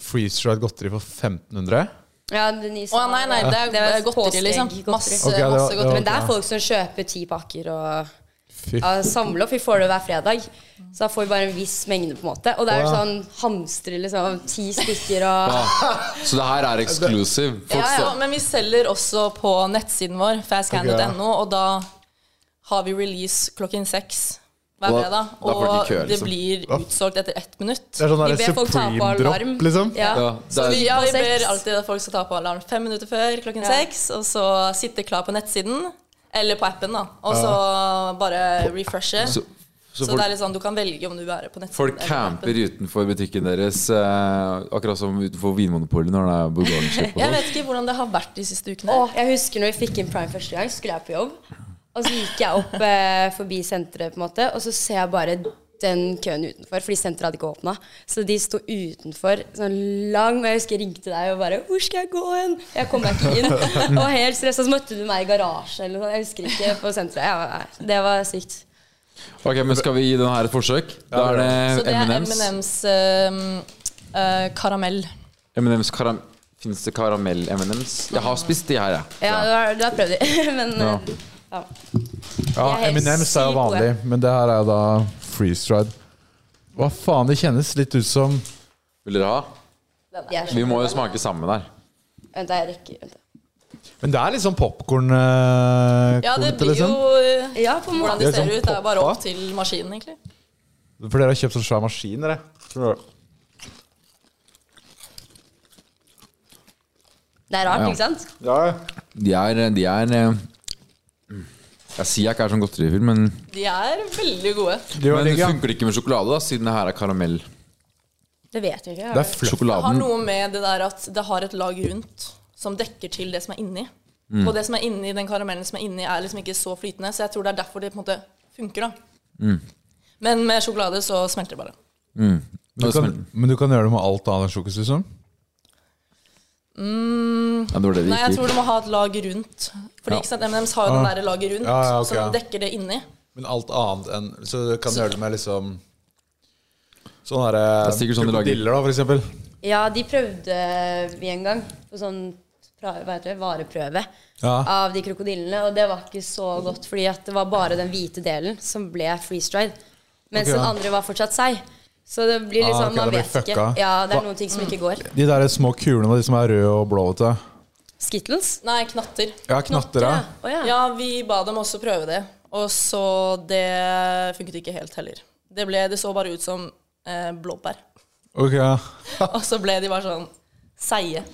Speaker 4: freeze-dried godteri for 1500?
Speaker 6: Ja, det nye
Speaker 5: Å nei, nei, det er, det er godteri,
Speaker 6: påstegg-
Speaker 5: liksom.
Speaker 6: godteri.
Speaker 5: Masse,
Speaker 4: Ok, det var-
Speaker 5: masse
Speaker 4: det
Speaker 5: godteri.
Speaker 4: var-
Speaker 6: Men det er folk som kjøper ti pakker og
Speaker 4: Fy
Speaker 6: ja, samler opp. Vi får det hver fredag. Så da får vi bare en viss mengde, på en måte. Og det er jo
Speaker 4: Å, ja.
Speaker 6: sånn hamstre liksom ti stykker og
Speaker 3: Så det her er exclusive. Folk
Speaker 5: Ja, ja,
Speaker 3: sa-
Speaker 5: men vi selger også på nettsiden vår, fastcan.no, og da har vi release klokken seks hver
Speaker 3: Og da-
Speaker 5: fredag.
Speaker 3: da får de
Speaker 5: Og
Speaker 3: kø,
Speaker 5: det
Speaker 3: liksom.
Speaker 5: blir utsolgt etter ett minutt.
Speaker 4: Det er sånn
Speaker 6: Vi
Speaker 4: der
Speaker 6: ber folk ta på
Speaker 4: supreme drop,
Speaker 6: alarm.
Speaker 4: liksom?
Speaker 6: Ja.
Speaker 3: Ja,
Speaker 5: Så vi,
Speaker 3: det er,
Speaker 5: ja, vi
Speaker 6: På seks.
Speaker 5: ber alltid at folk skal ta på alarm fem minutter før klokken
Speaker 6: Ja.
Speaker 5: seks, og så sitte klar på nettsiden. Eller på appen, da. Og så bare refreshe.
Speaker 3: så,
Speaker 5: Så,
Speaker 3: så
Speaker 5: det er
Speaker 3: folk,
Speaker 5: litt sånn, du kan velge om du vil være på nettsiden.
Speaker 3: folk
Speaker 5: eller på appen.
Speaker 3: camper utenfor butikken deres, eh, akkurat som utenfor Vinmonopolet når det er bulgarnerskip og
Speaker 5: Jeg
Speaker 3: sånn.
Speaker 5: vet ikke hvordan det har vært de siste ukene.
Speaker 6: Åh, jeg husker når vi fikk inn Prime første gang, skulle jeg på jobb. Og så gikk jeg opp eh, forbi senteret, på en måte, og så ser jeg bare den køen utenfor, fordi senteret hadde ikke åpna. Så de sto utenfor sånn lang Og jeg husker jeg ringte deg og bare 'Hvor skal jeg gå hen?' Jeg kom meg ikke inn. Og helt stressa så møtte du meg i garasjen eller noe sånt. Jeg husker ikke på senteret. Ja, nei, det var sykt.
Speaker 3: Ok, men Skal vi gi den her et forsøk? Da er
Speaker 5: Så
Speaker 3: det
Speaker 5: det er
Speaker 3: M&M's.
Speaker 5: M&M's ehm, eh, karamell.
Speaker 3: M&M's karam Fins det karamell-M&M's? Jeg har spist de her, jeg.
Speaker 6: Ja, du har, du har prøvd det, men
Speaker 3: Ja.
Speaker 6: eh, ja.
Speaker 4: Ja,
Speaker 6: De er helt
Speaker 4: M&M's er jo
Speaker 6: sykt gode.
Speaker 4: vanlig, men det her er jo da freeze-dried. Hva faen, det kjennes litt ut som
Speaker 3: Vil dere ha?
Speaker 6: de er
Speaker 3: Vi
Speaker 6: så-
Speaker 3: må jo smake sammen her.
Speaker 6: Vent, da, jeg rekker vent da.
Speaker 4: Men det er liksom popkorn-kornete,
Speaker 5: Ja, det blir
Speaker 4: liksom?
Speaker 5: jo eh,
Speaker 6: Ja, på en
Speaker 5: hvordan
Speaker 6: måte.
Speaker 5: det
Speaker 4: Det er
Speaker 5: ser
Speaker 4: sånn
Speaker 5: ut. Det er bare
Speaker 4: poppa.
Speaker 5: opp til maskinen, egentlig.
Speaker 4: For dere har kjøpt sånn svær maskin, dere.
Speaker 6: Det er rart,
Speaker 3: Ja.
Speaker 6: ikke sant?
Speaker 3: De er, de er eh, Jeg sier jeg ikke er sånn godterifull, men,
Speaker 5: De er veldig gode.
Speaker 4: De var
Speaker 3: men
Speaker 4: digge.
Speaker 3: funker det ikke med sjokolade, da, siden det her er karamell?
Speaker 6: Det vet jeg ikke.
Speaker 4: Det er fluff.
Speaker 5: Det har
Speaker 3: Sjokoladen
Speaker 5: noe med det der at det har et lag rundt som dekker til
Speaker 4: Mm.
Speaker 5: det som er inni. Og det som er inni den karamellen som er inni, er liksom ikke så flytende, så jeg tror det er derfor det på en måte funker, da.
Speaker 4: Mm.
Speaker 5: Men med sjokolade så smelter det bare.
Speaker 4: Men du, kan, men du kan gjøre det med alt annet enn sjokus, liksom?
Speaker 3: Ja, det var det vi
Speaker 5: Nei, jeg
Speaker 3: gikk
Speaker 5: tror
Speaker 3: i.
Speaker 5: du må ha et lag rundt. Fordi ikke sant, M&M's har jo den der laget rundt,
Speaker 4: Ah. Ja, ja, ok,
Speaker 5: så
Speaker 4: ja.
Speaker 5: den dekker det inni.
Speaker 4: Men alt annet enn Så du kan
Speaker 5: Så-
Speaker 4: gjøre det med liksom Sånne der,
Speaker 3: Det er sikkert sånn de lager.
Speaker 4: krokodiller, da, for eksempel.
Speaker 6: Ja, de prøvde eh, vi en gang på sånn pra- hva heter det, vareprøve
Speaker 4: Ja.
Speaker 6: av de krokodillene, og det var ikke så godt, fordi at det var bare den hvite delen som ble freeze-dried,
Speaker 4: Ok,
Speaker 6: mens
Speaker 4: ja.
Speaker 6: den andre var fortsatt seig. Så det blir
Speaker 4: Ah,
Speaker 6: liksom,
Speaker 4: ok,
Speaker 6: man
Speaker 4: det blir
Speaker 6: vet ikke.
Speaker 4: fucka.
Speaker 6: Ja, det er noen ting som ikke går.
Speaker 4: De der små kulene, de som er røde og blå, vet du.
Speaker 6: Skittles?
Speaker 5: Nei, knatter.
Speaker 4: Ja, knatter, ja.
Speaker 6: Å ja.
Speaker 5: Ja, vi ba dem også prøve det, og så det funket ikke helt heller. Det, ble, det så bare ut som eh, blåbær.
Speaker 4: Ok, ja.
Speaker 5: Og så ble de bare sånn seige.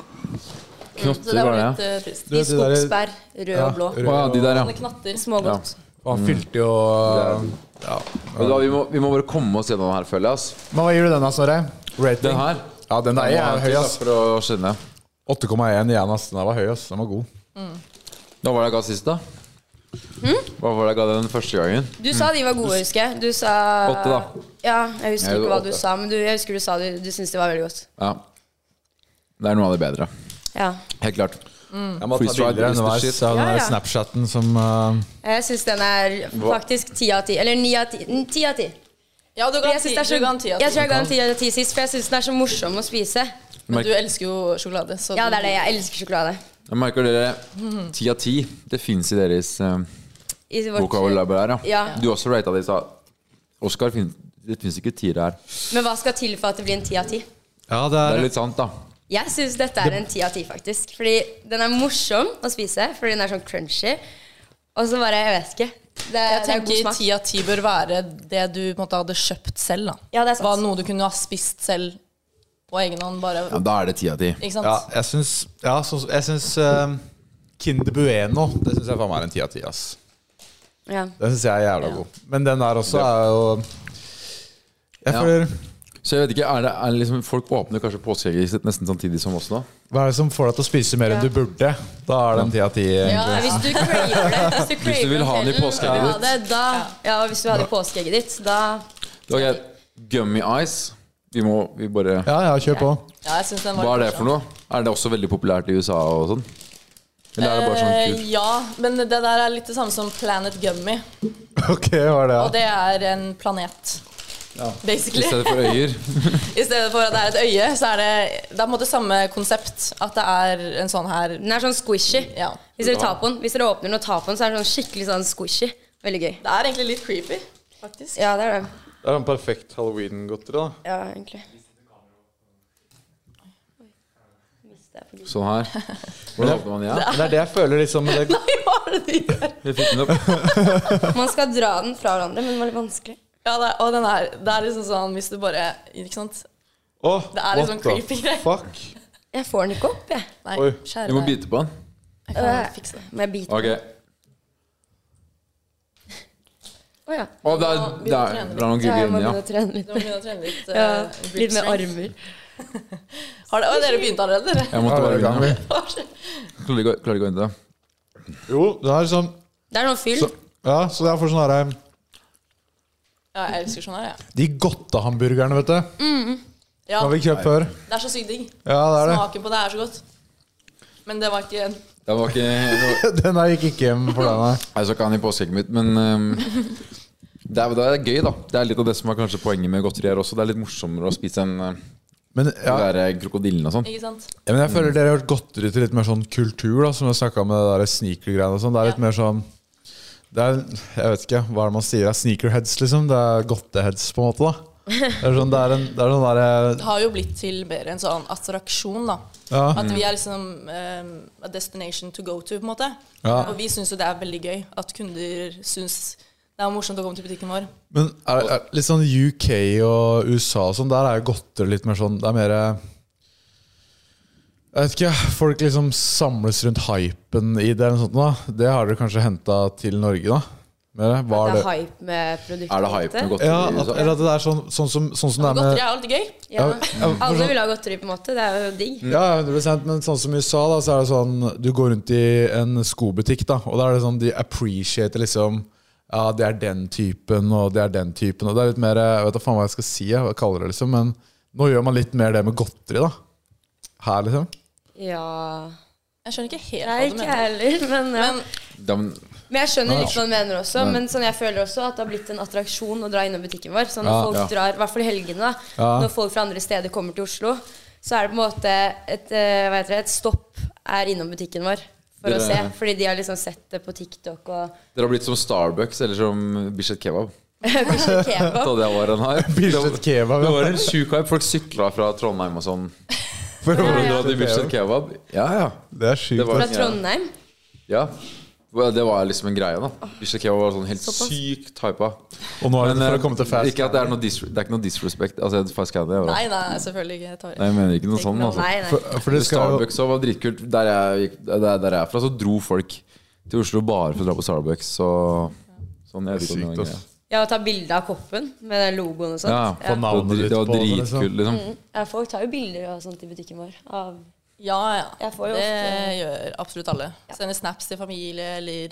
Speaker 5: Så
Speaker 3: Knotter
Speaker 5: det var
Speaker 3: var det,
Speaker 5: litt
Speaker 3: ja.
Speaker 5: eh, trist.
Speaker 4: Du vet de der-
Speaker 6: Skogsbær, rød
Speaker 4: Ja,
Speaker 6: og blå.
Speaker 4: rød
Speaker 3: Å ja, de der, ja.
Speaker 5: Sånne knatter.
Speaker 6: Smågodt.
Speaker 4: Og han fylte jo ja.
Speaker 3: Men da, vi, må, vi må bare komme oss gjennom den her, føler jeg. Ass.
Speaker 4: Men hva gir du den, da, Snorre? Rating?
Speaker 3: Den her?
Speaker 4: Ja, den der er høy, ass.
Speaker 3: For å skjønne.
Speaker 4: 8,1 igjen, ass. Den der var høy, ass. Den var god.
Speaker 3: Hva var det jeg ga sist, da?
Speaker 5: Hm?
Speaker 3: Hva var det jeg ga den første gangen?
Speaker 6: Du sa de var gode, husker jeg. Du sa
Speaker 3: Åtte, da.
Speaker 6: Ja, jeg husker
Speaker 3: Jeg
Speaker 6: ikke
Speaker 3: gjorde
Speaker 6: hva du
Speaker 3: åtte.
Speaker 6: sa, men du, jeg husker du sa du, du syntes det var veldig godt.
Speaker 3: Ja. Det er noe av det bedre.
Speaker 6: Ja.
Speaker 3: Helt klart.
Speaker 4: Jeg må ta
Speaker 3: Freeze-dried
Speaker 4: bilder
Speaker 3: is the
Speaker 4: underveis
Speaker 3: shit.
Speaker 4: av den
Speaker 6: Ja,
Speaker 4: der
Speaker 6: ja.
Speaker 4: Snapchatten som eh,
Speaker 6: Jeg syns den er faktisk ti av ti. Eller ni av ti. Mm, Ti av ti.
Speaker 5: Ja, du
Speaker 6: For
Speaker 5: ga
Speaker 6: Jeg,
Speaker 5: en ti.
Speaker 6: synes det er
Speaker 5: Du
Speaker 6: så,
Speaker 5: ga en ti av
Speaker 6: jeg
Speaker 5: ti.
Speaker 6: tror jeg ga en ti av ti sist, for jeg syns den er så morsom å spise.
Speaker 5: Men du elsker jo sjokolade, så
Speaker 6: Ja,
Speaker 5: du-
Speaker 6: det er det. Jeg elsker sjokolade.
Speaker 3: Jeg merker dere ti av ti. Det fins i deres eh,
Speaker 6: I vårt-
Speaker 3: vokabular. Ja.
Speaker 6: Ja.
Speaker 3: Du også rata det i stad. Oskar, fin- det fins ikke tiere her.
Speaker 6: Men hva skal til for at det blir en ti av ti?
Speaker 4: Ja, det
Speaker 3: Det
Speaker 4: er
Speaker 3: er litt sant, da.
Speaker 6: Jeg syns dette er en ti av ti, faktisk. Fordi den er morsom å spise, fordi den er sånn crunchy. Og så bare Jeg vet ikke. Det,
Speaker 5: Jeg
Speaker 6: det er god
Speaker 5: tenker
Speaker 6: smak.
Speaker 5: ti av ti bør være det du på en måte hadde kjøpt selv. da
Speaker 6: Ja, det er sant.
Speaker 5: Var noe du kunne ha spist selv på egen hånd. Bare,
Speaker 3: Ja, da er det ti av ti.
Speaker 5: ikke sant?
Speaker 4: Ja, jeg syns, ja, så, jeg syns eh, Kinder Bueno Det syns jeg faen meg er en ti av ti. ass.
Speaker 6: Ja.
Speaker 4: Den syns jeg er jævla god. Men den der også er jo Jeg
Speaker 3: Ja.
Speaker 4: føler
Speaker 3: Så jeg vet ikke, er det, er det liksom, Folk åpner kanskje påskeegget sitt nesten samtidig som oss nå.
Speaker 4: Hva er det som får deg til å spise mer enn du burde? Da er det en ti av ti.
Speaker 6: Ja,
Speaker 4: egentlig.
Speaker 6: hvis du craver det Hvis du,
Speaker 3: Hvis du vil ha den i påskeegget ditt.
Speaker 6: ditt. Da, ja, og hvis du har det i påskeegget ditt, da
Speaker 3: Ok, Gummy ice. Vi må vi bare
Speaker 4: Ja, ja, kjør på.
Speaker 5: Ja, jeg synes den var
Speaker 3: Hva er det
Speaker 5: litt
Speaker 3: for noe? Er det også veldig populært i USA og sånn? Eller er det bare
Speaker 5: Eh,
Speaker 3: sånn kult?
Speaker 5: Ja, men det der er litt det samme som Planet Gummy.
Speaker 4: Ok, hva er det?
Speaker 5: Og det er en planet,
Speaker 3: I
Speaker 5: basically.
Speaker 3: stedet for øyer.
Speaker 5: I stedet for at det er et øye, så er det Det er på en måte samme konsept. At det er en sånn her
Speaker 6: Den er sånn squishy.
Speaker 5: Ja.
Speaker 6: Hvis dere tar på den Hvis dere åpner den og tar på den, så er den sånn skikkelig sånn squishy. Veldig gøy.
Speaker 5: Det er egentlig litt creepy, faktisk.
Speaker 6: Ja, det er det.
Speaker 4: Det er en perfekt halloween-godteri, da.
Speaker 6: Ja, egentlig. Mistet jeg på lyset.
Speaker 3: Sånn her. Hvordan åpner man den? Ja?
Speaker 4: Men det er det jeg føler liksom med det.
Speaker 5: Nei, hva er det de gjør?
Speaker 3: Vi fikk den opp.
Speaker 6: Man skal dra den fra hverandre, men det var litt vanskelig.
Speaker 5: Ja, det er, og den er, det er liksom sånn hvis du bare Ikke sant?
Speaker 4: Åh,
Speaker 5: Det er litt sånn
Speaker 4: what the
Speaker 5: creepy greier.
Speaker 4: Fuck.
Speaker 6: Jeg får den ikke opp, jeg.
Speaker 5: Nei,
Speaker 4: Oi,
Speaker 5: skjære
Speaker 3: Du må
Speaker 5: deg.
Speaker 3: bite på den.
Speaker 5: Jeg kan fikse det.
Speaker 6: Må jeg bite?
Speaker 3: Ok.
Speaker 6: Å ja.
Speaker 3: Å, det er, det er, det er noen
Speaker 6: ja. Jeg
Speaker 3: gule
Speaker 6: må
Speaker 3: inni, ja.
Speaker 6: begynne å trene
Speaker 5: Du
Speaker 6: litt.
Speaker 5: må begynne å trene litt.
Speaker 6: Ja,
Speaker 5: eh, grip
Speaker 6: litt med
Speaker 5: strength.
Speaker 6: armer.
Speaker 5: Har det, å, dere begynte allerede, dere?
Speaker 3: Jeg måtte
Speaker 4: Ja,
Speaker 3: bare
Speaker 4: det er
Speaker 3: begynne.
Speaker 4: gammel.
Speaker 3: Klarer ikke å- klarer ikke å vente.
Speaker 4: Jo, det er sånn
Speaker 6: Det er noe fyll.
Speaker 4: så, Ja, så det er for sånn herre
Speaker 5: Ja, jeg elsker sånn her, jeg.
Speaker 4: De godtehamburgerne, vet du.
Speaker 5: Ja.
Speaker 4: Har vi kjøpt før?
Speaker 5: Det er så sykt digg.
Speaker 4: Ja, det er det.
Speaker 5: Smaken på det er så godt. Men det var ikke
Speaker 3: Det var ikke
Speaker 4: Den her gikk ikke hjem for deg, nei.
Speaker 3: Jeg skal ikke ha den i påskeegget mitt, men ehm, det, er, det er gøy, da. Det er litt av det som er kanskje poenget med godteri her også. Det er litt morsommere å spise enn eh,
Speaker 4: Men, ja,
Speaker 3: de der krokodillene og sånn.
Speaker 5: Ikke sant?
Speaker 4: ja, men jeg føler dere har gjort godteri til litt mer sånn kultur, da, som vi snakka om med det der sneaker-greiene og sånn. Det er litt mer sånn det er, Jeg vet ikke, hva er det man sier? Det er sneakerheads, liksom? Det er godteheads, på en måte, da. Det er sånn, det er en, det er sånn derre
Speaker 5: Det har jo blitt til mer en sånn attraksjon, da.
Speaker 4: Ja.
Speaker 5: At vi er liksom ehm, a destination to go to, på en måte.
Speaker 4: Ja.
Speaker 5: Og vi syns jo det er veldig gøy at kunder syns det er morsomt å komme til butikken vår.
Speaker 4: Men er, er, litt sånn UK og USA og sånn, der er jo godteri litt mer sånn Det er mer Jeg vet ikke, folk liksom samles rundt hypen i det eller noe sånt. da Det har dere kanskje henta til Norge, da? Mer, hva
Speaker 6: At
Speaker 4: er
Speaker 6: det er
Speaker 4: det?
Speaker 6: hype med produktet.
Speaker 3: Er det hype med godteri?
Speaker 4: Ja,
Speaker 3: i
Speaker 4: at,
Speaker 3: USA?
Speaker 4: eller at det er sånn, sånn, som, sånn som det er med
Speaker 5: Godteri er alltid gøy.
Speaker 6: Ja.
Speaker 4: ja, for
Speaker 6: Alle
Speaker 4: sånn-
Speaker 6: vil ha godteri, på en måte. Det er jo digg.
Speaker 4: Ja, 100 men sånn som i USA, da, så er det sånn Du går rundt i en skobutikk, da, og da er det sånn de appreciater liksom Ja, det er den typen, og det er den typen. Og det er litt mer Jeg vet da faen hva jeg skal si, jeg, hva jeg kaller det, liksom. Men nå gjør man litt mer det med godteri, da. Her, liksom.
Speaker 6: Ja
Speaker 5: Jeg skjønner ikke helt
Speaker 6: Nei,
Speaker 5: hva du
Speaker 6: ikke
Speaker 5: mener.
Speaker 6: jeg heller, men ja.
Speaker 5: Men
Speaker 3: Da, men,
Speaker 6: Men jeg skjønner
Speaker 3: Nei,
Speaker 6: litt hva du mener også,
Speaker 3: Nei.
Speaker 6: men sånn jeg føler også at det har blitt en attraksjon å dra innom butikken vår. Sånn når
Speaker 4: Ja,
Speaker 6: folk
Speaker 4: ja.
Speaker 6: drar, i hvert fall i helgene, da,
Speaker 4: Ja.
Speaker 6: når folk fra andre steder kommer til Oslo, så er det på en måte et, eh, hva heter det, et stopp er innom butikken vår for
Speaker 3: Dere-
Speaker 6: å se. Fordi de har liksom sett det på TikTok og
Speaker 3: dere har blitt som Starbucks eller som Bislett Kebab.
Speaker 6: kanskje kebab.
Speaker 3: Ta det av årene her.
Speaker 4: Bislett Kebab,
Speaker 3: Det
Speaker 4: ja.
Speaker 3: var en sjuk hype. Folk sykla fra Trondheim og sånn. For å dra til Bislett Kebab. Ja, ja.
Speaker 4: Det er sjukt.
Speaker 3: Det var-
Speaker 6: Fra Trondheim.
Speaker 3: ja. Well, Det var liksom en greie,
Speaker 6: Ah.
Speaker 3: da. Bislett Kebab var sånn helt sykt hypa.
Speaker 4: Og nå er det
Speaker 3: Men,
Speaker 4: for
Speaker 3: eh,
Speaker 4: å komme til fast.
Speaker 3: Ikke at det er noe, dis det er ikke noe disrespect. Altså, fast candy, er bra.
Speaker 5: nei, nei, selvfølgelig ikke. Jeg tar
Speaker 3: Nei, jeg mener ikke noe sånn,
Speaker 6: Nei,
Speaker 3: altså.
Speaker 6: nei.
Speaker 4: For, for det skal jo
Speaker 3: Starbucks også var dritkult. Der jeg, gikk- der, der jeg er fra, så dro folk til Oslo bare for å dra på Starbucks. Så, sånn, jeg vet ikke om
Speaker 4: Sykt,
Speaker 3: det var
Speaker 4: ass.
Speaker 3: greia.
Speaker 6: Ja, å ta bilde av koppen med den logoen
Speaker 3: Ja,
Speaker 6: og sånt.
Speaker 3: det
Speaker 6: Ja. Mm.
Speaker 4: navnet
Speaker 3: var, dri-
Speaker 4: ditt
Speaker 3: det var
Speaker 4: på det, liksom.
Speaker 3: dritkult, liksom.
Speaker 6: Ja, folk tar jo bilder og sånt i butikken vår. Av
Speaker 5: Ja, ja.
Speaker 6: Jeg får jo
Speaker 5: det
Speaker 6: ofte-
Speaker 5: gjør absolutt alle. Sender snaps til familie eller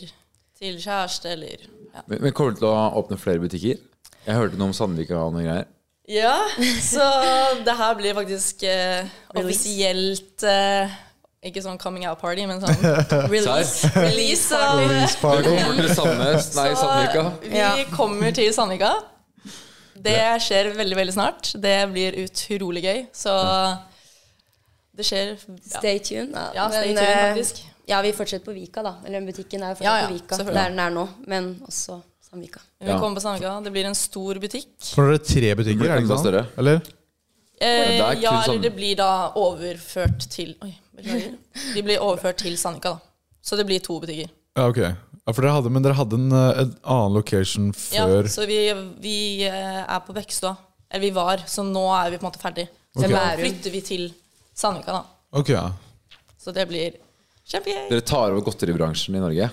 Speaker 5: til kjæreste eller ja.
Speaker 3: Men, men kommer du til å åpne flere butikker? Jeg hørte noe om Sandvika og noe greier.
Speaker 5: ja, så det her blir faktisk eh,
Speaker 6: Release.
Speaker 5: offisielt eh, Ikke sånn coming out party, men sånn
Speaker 3: Serr?
Speaker 5: release. release av
Speaker 3: Du kommer til Sandnes, nei,
Speaker 5: Så
Speaker 3: Sandvika.
Speaker 5: Vi
Speaker 6: Ja.
Speaker 5: kommer til Sandvika. Det skjer veldig, veldig snart. Det blir utrolig gøy. Så det skjer ja.
Speaker 6: Stay tuned. da.
Speaker 5: Ja, stay
Speaker 6: Men,
Speaker 5: tuned,
Speaker 6: eh,
Speaker 5: faktisk.
Speaker 6: Ja, vi fortsetter på Vika, da. Eller den butikken er jo fortsatt
Speaker 5: Ja, ja,
Speaker 6: på Vika.
Speaker 5: selvfølgelig.
Speaker 6: Der den er nå, men også Samvika.
Speaker 5: Vi kommer på Sandvika. Det blir en stor butikk.
Speaker 4: For nå er det tre butikker, er det
Speaker 3: Enda
Speaker 4: ikke
Speaker 3: større.
Speaker 4: sant? Eller?
Speaker 5: Eh,
Speaker 3: det er
Speaker 5: ja,
Speaker 3: kun
Speaker 5: eller
Speaker 3: Sand-
Speaker 5: det blir da overført til Oi, beklager. De blir overført til Sandvika, da. Så det blir to butikker.
Speaker 4: Ja, ok. Ja, for dere hadde, men dere hadde en, eh, en annen location
Speaker 5: Ja,
Speaker 4: før
Speaker 5: så vi, vi eh, er på Bekkestua. Eller vi var, så nå er vi på en måte ferdig. Så
Speaker 4: Ok.
Speaker 5: nå flytter vi til Sandvika, da.
Speaker 4: Ok, ja.
Speaker 5: Så det blir kjempegøy.
Speaker 3: Dere tar over godteribransjen i Norge.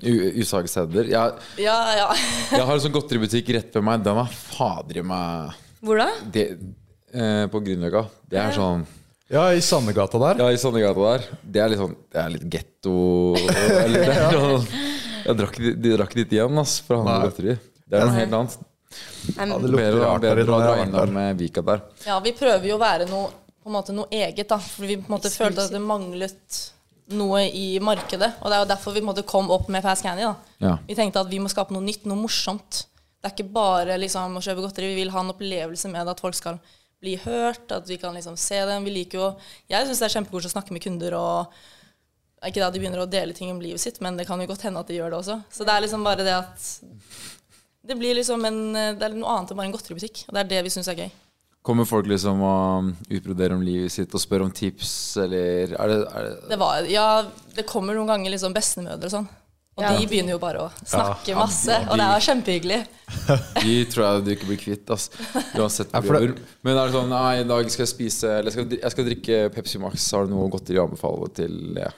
Speaker 3: U- Usagesæder. Jeg,
Speaker 5: Ja, ja.
Speaker 3: jeg har en sånn godteributikk rett ved meg. Den er fader i meg
Speaker 6: Hvor da?
Speaker 3: det, eh, På Grünerløkka. Det er sånn
Speaker 4: ja, i Sandegata der.
Speaker 3: Ja, i Sandegata der. Det er litt sånn Det er litt getto eller det er sånn- Jeg drakk, dit- de drakk dit igjen, ass, for å handle
Speaker 4: Nei.
Speaker 3: godteri. Det er noe helt annet.
Speaker 6: Nei, men-
Speaker 4: det lukter
Speaker 3: Bedre,
Speaker 4: rart der
Speaker 3: bedre
Speaker 4: i
Speaker 3: å dra
Speaker 4: dag, jeg har vært
Speaker 3: innom eh, Vika der.
Speaker 5: Ja, vi prøver jo å være noe, på en måte noe eget, da. For vi på en måte følte at det manglet noe i markedet. Og det er jo derfor vi på en måte kom opp med Fast Candy. da.
Speaker 3: Ja.
Speaker 5: Vi tenkte at vi må skape noe nytt, noe morsomt. Det er ikke bare liksom, å kjøpe godteri. Vi vil ha en opplevelse med det, at folk skal bli hørt, at vi kan liksom se dem. Vi liker jo Jeg syns det er kjempekoselig å snakke med kunder og Ikke da de begynner å dele ting om livet sitt, men det kan jo godt hende at de gjør det også. Så det er liksom bare det at Det blir liksom en, det er noe annet enn bare en godteributikk. Og det er det vi syns er gøy.
Speaker 3: Kommer folk liksom og utbroderer om livet sitt og spør om tips, eller er det, er det
Speaker 5: Det var, ja, det kommer noen ganger liksom bestemødre og sånn. Og de begynner jo bare å snakke masse,
Speaker 3: de-
Speaker 5: og det er kjempehyggelig.
Speaker 3: De tror jeg du ikke blir kvitt, ass. Uansett
Speaker 4: Ja, for det-
Speaker 3: hvor. Men er det sånn Nei, i dag skal jeg spise Eller jeg skal, dri- jeg skal drikke Pepsi Max. Har du noe godteri å anbefale til ja.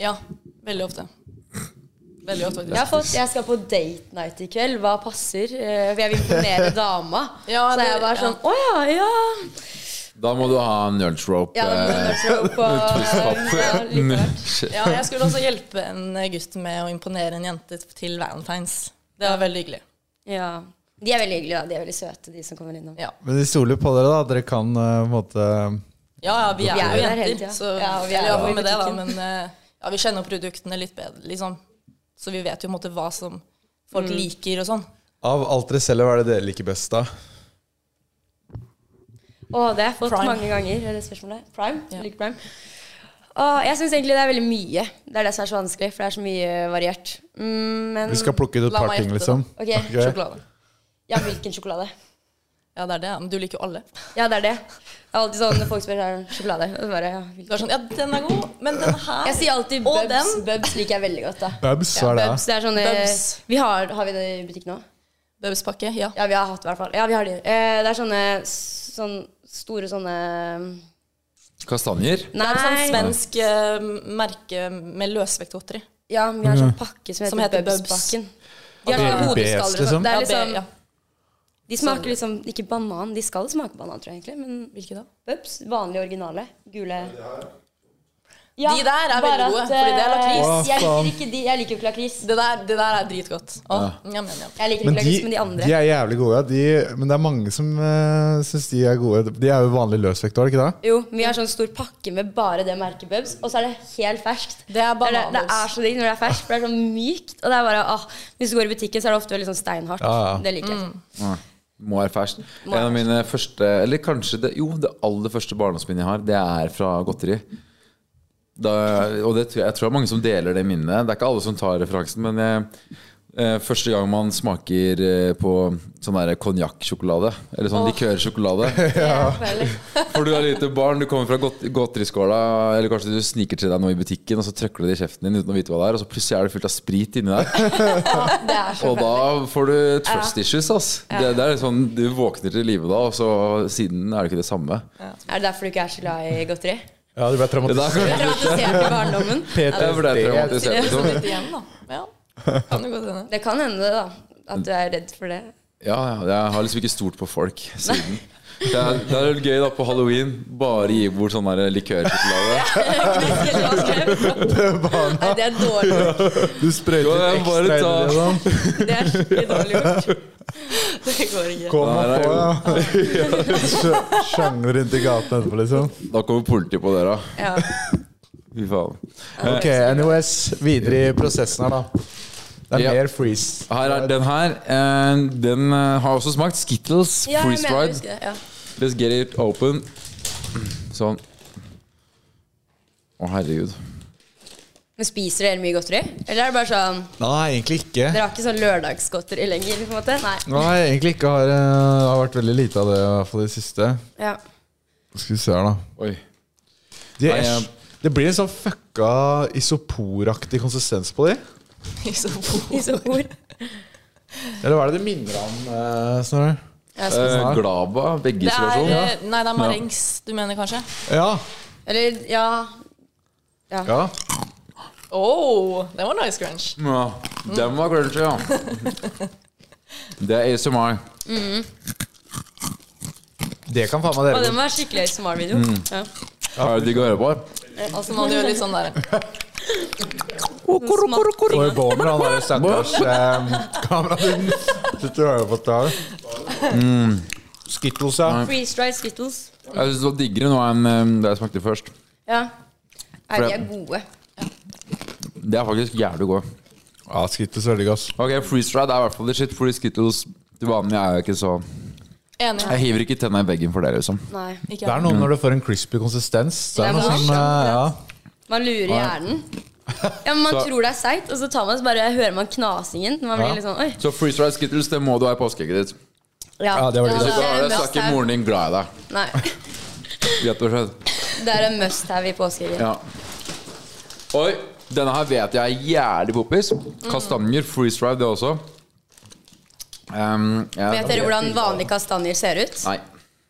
Speaker 5: Ja, veldig ofte. Veldig ofte,
Speaker 6: Jeg, har
Speaker 5: faktisk.
Speaker 6: fått, jeg skal på date night i kveld. Hva passer? Eh, For jeg vil imponere dama.
Speaker 5: Ja,
Speaker 6: så
Speaker 5: det-
Speaker 6: jeg var sånn Å ja, ja.
Speaker 3: Da må du ha en lunch rope.
Speaker 6: ja det blir
Speaker 3: eh,
Speaker 6: kanskje på, ja, litt rart.
Speaker 5: Ja, jeg skulle også hjelpe en gutt med å imponere en jente til Valentines. Det var veldig hyggelig.
Speaker 6: ja. De er veldig hyggelige, da. De er veldig søte, de som kommer innom.
Speaker 5: Ja,
Speaker 4: Men de stoler jo på dere, da. at Dere kan eh, på en måte
Speaker 5: ja, ja vi er
Speaker 6: er
Speaker 5: jo
Speaker 6: jo der hele
Speaker 5: jenter,
Speaker 6: tiden.
Speaker 5: så
Speaker 6: Ja, og vi er
Speaker 5: eller, ja,
Speaker 6: jo i
Speaker 5: med det da,
Speaker 6: butikken.
Speaker 5: men eh, ja, vi kjenner produktene litt bedre, liksom. Så vi vet jo på en måte hva som folk
Speaker 6: Mm.
Speaker 5: liker og sånn.
Speaker 4: Av alt dere selger, hva er det dere liker best, da?
Speaker 6: Å, det har jeg fått
Speaker 5: Prime.
Speaker 6: mange ganger. Er det spørsmålet? Prime?
Speaker 5: Ja.
Speaker 6: Like prime? Å, jeg syns egentlig det er veldig mye. Det er det som er så vanskelig, for det er så mye variert. Mm, men
Speaker 4: Vi skal plukke ut et
Speaker 5: La
Speaker 4: par
Speaker 5: meg
Speaker 4: ting,
Speaker 5: gjette,
Speaker 4: liksom.
Speaker 6: Ok,
Speaker 5: Sjokolade.
Speaker 6: Ja, hvilken sjokolade?
Speaker 5: Ja, det er det. ja. Men du liker jo alle.
Speaker 6: Ja, det er det. Det er alltid sånn når folk spør om sjokolade. og så Bare, ja,
Speaker 5: Du
Speaker 6: hvilken?
Speaker 5: er sånn Ja, den er god, men den her
Speaker 6: jeg sier alltid
Speaker 5: Og
Speaker 6: Bubs.
Speaker 5: den.
Speaker 6: Bubs liker jeg veldig godt. da
Speaker 4: Babs, hva er det?
Speaker 6: Bubs, det er sånne
Speaker 5: Bubs.
Speaker 6: vi har, har vi det i butikken nå?
Speaker 5: Bubspakke, ja.
Speaker 6: Ja, vi har hatt i hvert fall. Ja, vi har de. Eh, det er sånne sånn store sånne
Speaker 3: Kastanjer?
Speaker 5: Det er et sånt
Speaker 6: Nei!
Speaker 5: Sånn svensk eh, merke med løsvektgodteri.
Speaker 6: Ja, vi har sånn pakke som heter,
Speaker 5: Som heter Bubs.
Speaker 6: Bubs-pakken. De
Speaker 5: Og
Speaker 6: har sånne
Speaker 5: det-
Speaker 6: hodeskaller. og
Speaker 4: Bes, liksom?
Speaker 6: sånn. Det
Speaker 5: altså. Ja,
Speaker 6: er
Speaker 5: det-
Speaker 6: liksom
Speaker 5: ja.
Speaker 6: De smaker liksom ikke banan. De skal smake banan, tror jeg egentlig. Men
Speaker 5: Hvilke da?
Speaker 6: Bubs, vanlige originale. Gule. Ja,
Speaker 5: De der er
Speaker 6: bare
Speaker 5: veldig gode,
Speaker 6: at,
Speaker 5: fordi det er lakris.
Speaker 6: eh, Jeg
Speaker 4: Hva faen?
Speaker 6: liker ikke de. Jeg liker jo ikke lakris.
Speaker 5: Det der, det der er dritgodt. Å, njam, njam, njam.
Speaker 6: Jeg liker
Speaker 4: Men
Speaker 6: ikke
Speaker 4: de,
Speaker 6: lakris, men de andre.
Speaker 4: de er jævlig gode. ja. De, men det er mange som uh, syns de er gode. De er jo vanlig løsvekt, var det ikke det?
Speaker 6: Jo, vi har sånn stor pakke med bare det merket Bubs, og så er det helt ferskt.
Speaker 5: Det er
Speaker 6: det, det
Speaker 5: bananbubs.
Speaker 6: er så digg når det er ferskt, for det er sånn mykt. Og det er bare, ah, Hvis du går i butikken, så er det ofte veldig sånn steinhardt.
Speaker 4: Ja, Mm. ja.
Speaker 6: Det liker jeg.
Speaker 3: Nei, Mm. Må være ferskt.
Speaker 6: Må være
Speaker 3: En av mine første Eller kanskje det, jo, det aller første barndomsminnet jeg har, det er fra godteri. Da, og det, tror jeg jeg tror det er mange som deler det minnet. Det er ikke alle som tar referansen, men jeg, eh, første gang man smaker eh, på sånn der konjakksjokolade, eller sånn likørsjokolade For du er lite barn, du kommer fra godt- godteriskåla, eller kanskje du sniker til deg noe i butikken, og så trykker du det i kjeften din uten å vite hva det er, og så plutselig er det fullt av sprit inni der.
Speaker 6: Det er sånn. så
Speaker 3: Og da får du trust issues, ass. Det, det er litt sånn, du våkner til live da, og så siden er det ikke det samme.
Speaker 6: Er det derfor du ikke er så glad i godteri?
Speaker 4: Ja, du ble
Speaker 3: Det der
Speaker 4: traumatisert.
Speaker 3: kan-
Speaker 6: Traumatisert i barndommen?
Speaker 3: jeg ble traumatisert,
Speaker 5: Så
Speaker 3: liksom.
Speaker 5: litt igjen, da. Ja. Kan det godt hende.
Speaker 6: Det kan hende, det, da. At du er redd for det.
Speaker 3: Ja, ja, jeg har liksom ikke stolt på folk siden. Det er, det er litt gøy da på halloween. Bare gi bort sånn der likørsjokolade.
Speaker 6: Nei, det er dårlig gjort.
Speaker 4: Du sprøyter
Speaker 3: Kan jeg bare
Speaker 4: ekstra inn
Speaker 3: ta-
Speaker 4: i det. liksom. da.
Speaker 6: Det er skikkelig dårlig gjort. Det går ikke.
Speaker 4: Kom
Speaker 3: Nei,
Speaker 4: og
Speaker 3: det er
Speaker 4: få, ja. Sjangler rundt i gaten etterpå, liksom.
Speaker 3: Da kommer politiet på døra.
Speaker 6: Ja.
Speaker 3: Fy faen.
Speaker 4: Ok, NOS. Videre i prosessen her, da. Det er
Speaker 3: Ja.
Speaker 4: mer freeze.
Speaker 3: Her er den her. eh, Den eh, har også smakt. Skittles
Speaker 6: Ja, jeg
Speaker 3: Freeze
Speaker 6: mener,
Speaker 3: Dried.
Speaker 6: husker det. Ja.
Speaker 3: Let's get it open. Sånn. Å, herregud.
Speaker 6: Men spiser dere mye godteri? Eller er det bare sånn
Speaker 4: Nei, egentlig ikke.
Speaker 6: Dere har ikke sånn lørdagsgodteri lenger? på en måte? Nei.
Speaker 4: Nei, egentlig ikke. Har, eh, har vært veldig lite av det, i hvert fall i det siste.
Speaker 6: Ja.
Speaker 4: Skal vi se her, da.
Speaker 3: Oi.
Speaker 4: De
Speaker 3: Nei,
Speaker 4: er,
Speaker 3: jeg-
Speaker 4: det blir en sånn fucka isoporaktig konsistens på de.
Speaker 6: Isopor.
Speaker 4: Eller hva er det det minner om, eh, Snorre?
Speaker 6: Ja, skal vi
Speaker 3: Eh, Glaba,
Speaker 5: Det er,
Speaker 3: veggisolasjon.
Speaker 5: eh, nei, det er marengs du mener, kanskje?
Speaker 4: Ja.
Speaker 6: Eller ja
Speaker 4: ja.
Speaker 5: Oh, det var nice crunch.
Speaker 3: Ja, den var crunchy, ja. Det er ASMR.
Speaker 4: Det kan faen meg
Speaker 6: Og
Speaker 4: dere.
Speaker 6: den var skikkelig ASMR-video. Ja.
Speaker 3: Er det digg å høre på?
Speaker 5: Og så må du gjøre litt sånn der.
Speaker 4: Roy Bomer, han er jo stakkars eh, kameradauden. Sitter og hører på dette her. Mm. Skittles, ja.
Speaker 6: Freeze-dried skittles.
Speaker 3: Jeg syns det var diggere nå enn eh, det jeg smakte først.
Speaker 6: Ja. Nei,
Speaker 3: For
Speaker 6: de er
Speaker 3: det-
Speaker 6: gode.
Speaker 3: Det er faktisk jævlig gode.
Speaker 4: Ja, Skittles er veldig godt.
Speaker 3: Ok, Freeze dried er i hvert fall the shit, fordi Skittles til vanlig er jo ikke så
Speaker 5: Enig.
Speaker 3: Jeg hiver ikke tenna i veggen for det, liksom.
Speaker 6: Nei.
Speaker 5: Ikke
Speaker 4: Det er noe når du får en crispy konsistens. Det
Speaker 6: Ja,
Speaker 4: er noe
Speaker 6: men-
Speaker 4: som, eh, ja.
Speaker 6: Man lurer hjernen. Ja, men Man
Speaker 3: Så-
Speaker 6: tror det er seigt, og så tar man så bare hører man knasingen. Når man
Speaker 4: Ja.
Speaker 6: blir litt sånn, oi
Speaker 3: Så freeze dried Skittles, det må du ha i påskeegget ditt.
Speaker 6: Ja,
Speaker 4: Ja, det var litt-
Speaker 3: Hvis
Speaker 6: det
Speaker 3: du har
Speaker 6: er
Speaker 3: det, så
Speaker 6: en
Speaker 3: er ikke
Speaker 6: must-have.
Speaker 3: moren din glad i deg.
Speaker 6: Nei,
Speaker 3: Rett og slett.
Speaker 6: det er en must-have i påskeegget.
Speaker 3: Ja. Oi, denne her vet jeg er jævlig poppis.
Speaker 6: Mm.
Speaker 3: Kastanjer, freeze dried, det også. Um, jeg-
Speaker 6: Vet dere hvordan vanlige kastanjer ser ut?
Speaker 3: Nei.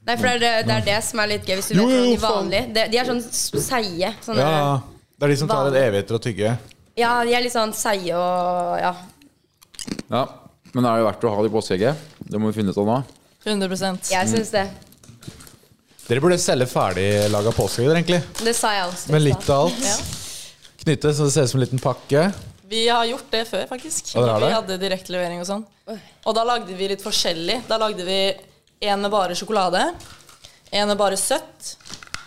Speaker 6: Nei, for det er det, er det som er litt gøy. Hvis du
Speaker 4: Jo,
Speaker 6: vet
Speaker 4: jo,
Speaker 6: hvordan de
Speaker 4: faen.
Speaker 6: vanlige De, de er sånn s- seige. Sånne,
Speaker 4: ja.
Speaker 6: ja.
Speaker 4: Det er de som tar en evighet til å tygge.
Speaker 6: de er litt sånn seige og ja.
Speaker 3: Ja, men er det verdt å ha det i påskeegget? Det må vi finne ut av nå.
Speaker 5: 100
Speaker 4: Mm.
Speaker 6: Jeg syns det.
Speaker 4: Dere burde selge ferdiglaga påskeegg, egentlig.
Speaker 6: Det sa jeg også.
Speaker 4: Med litt av alt. Knytte, så det ser ut som en liten pakke.
Speaker 5: Vi har gjort det før, faktisk.
Speaker 4: Ja, dere har
Speaker 5: vi
Speaker 4: det?
Speaker 5: hadde direktelevering og sånn. Og da lagde vi litt forskjellig. Da lagde vi en med bare sjokolade, en med bare søtt,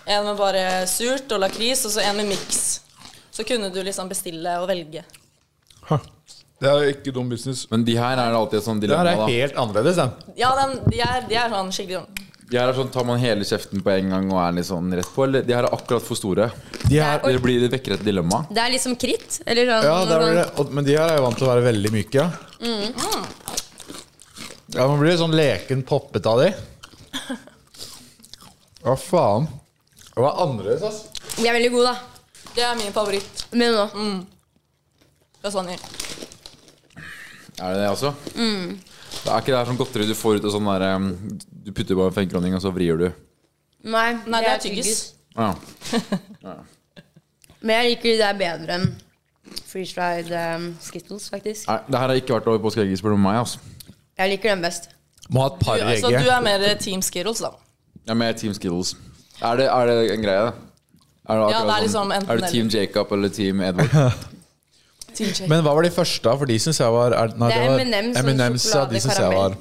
Speaker 5: en med bare surt og lakris, og så en med miks. Så kunne du liksom bestille og velge.
Speaker 4: Det er ikke dum business.
Speaker 3: Men de her er det alltid et sånt
Speaker 4: Det her
Speaker 3: dilemma,
Speaker 4: er
Speaker 3: da.
Speaker 4: helt annerledes, den.
Speaker 5: Ja, den, de, er, de er sånn skikkelig sånn
Speaker 3: De her er sånn, Tar man hele kjeften på en gang og er litt sånn rett på? Eller de her er akkurat for store?
Speaker 4: De her,
Speaker 3: Det blir det vekker et dilemma.
Speaker 6: Det er liksom kritt. Eller sånn,
Speaker 4: ja, der blir det, og- men de her er jo vant til å være veldig myke, ja. Ja, man blir sånn leken poppet av de. Hva faen? Det var annerledes, ass.
Speaker 6: De sånn- er veldig gode, da.
Speaker 5: Det er min favoritt.
Speaker 6: Men nå
Speaker 4: Mm.
Speaker 5: Lasagne.
Speaker 3: Er det det også?
Speaker 6: Mm.
Speaker 3: Det er ikke det her sånn godteri du får ut av sånn derre Du putter bare en femkroning, og så vrir du.
Speaker 6: Nei,
Speaker 5: Nei, det er tyggis.
Speaker 3: Ja.
Speaker 6: Men jeg liker de der bedre enn freeze-fried um, skittles, faktisk.
Speaker 3: Nei, det her har ikke vært over påskeegget, spør du meg. Altså.
Speaker 6: Jeg liker den best.
Speaker 4: Må ha et
Speaker 5: Du,
Speaker 4: par
Speaker 5: så du
Speaker 4: egg.
Speaker 5: er mer Team Skittles, da.
Speaker 3: Jeg er med Team Skittles. Er det, er det en greie? Er du,
Speaker 5: Ja,
Speaker 3: akkurat
Speaker 5: det er liksom
Speaker 3: sånn-
Speaker 5: enten
Speaker 3: er du Team
Speaker 5: eller.
Speaker 3: Jacob eller Team Edward?
Speaker 5: Men,
Speaker 4: Men hva var de første, da? For de syns jeg var er- Nei,
Speaker 6: Det er altså,
Speaker 4: det var
Speaker 6: M&M's
Speaker 4: ja,
Speaker 6: og
Speaker 4: de syns jeg var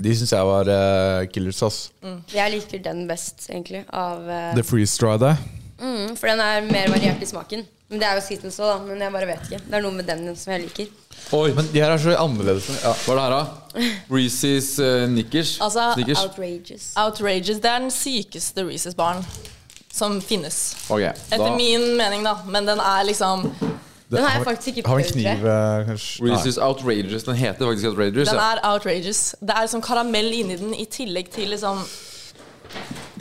Speaker 4: De syns jeg var eh, killers, ass.
Speaker 6: Jeg liker den best, egentlig. Av, eh,
Speaker 4: The freeze dry der.
Speaker 6: mm, for den er mer variert i smaken. Men Det er jo Skittles òg, da. Men jeg bare vet ikke. Det er noe med den som jeg liker.
Speaker 3: Oi,
Speaker 4: Men de her er så annerledes. Ja.
Speaker 3: hva er det her, da? Reese's uh, Nickers?
Speaker 5: altså,
Speaker 3: Snickers?
Speaker 6: Outrageous.
Speaker 5: Outrageous, det er den sykeste Reeses-baren som finnes.
Speaker 3: Ok,
Speaker 5: Etter
Speaker 3: da
Speaker 5: min mening, da. Men den er liksom
Speaker 6: Den har jeg faktisk ikke
Speaker 4: Har den
Speaker 6: prøvd, tror jeg.
Speaker 4: kniv, eh, kanskje? Nei.
Speaker 3: Reese's Outrageous. Den heter faktisk Outrageous.
Speaker 5: Den
Speaker 3: Ja.
Speaker 5: er outrageous. Det er liksom karamell inni den i tillegg til liksom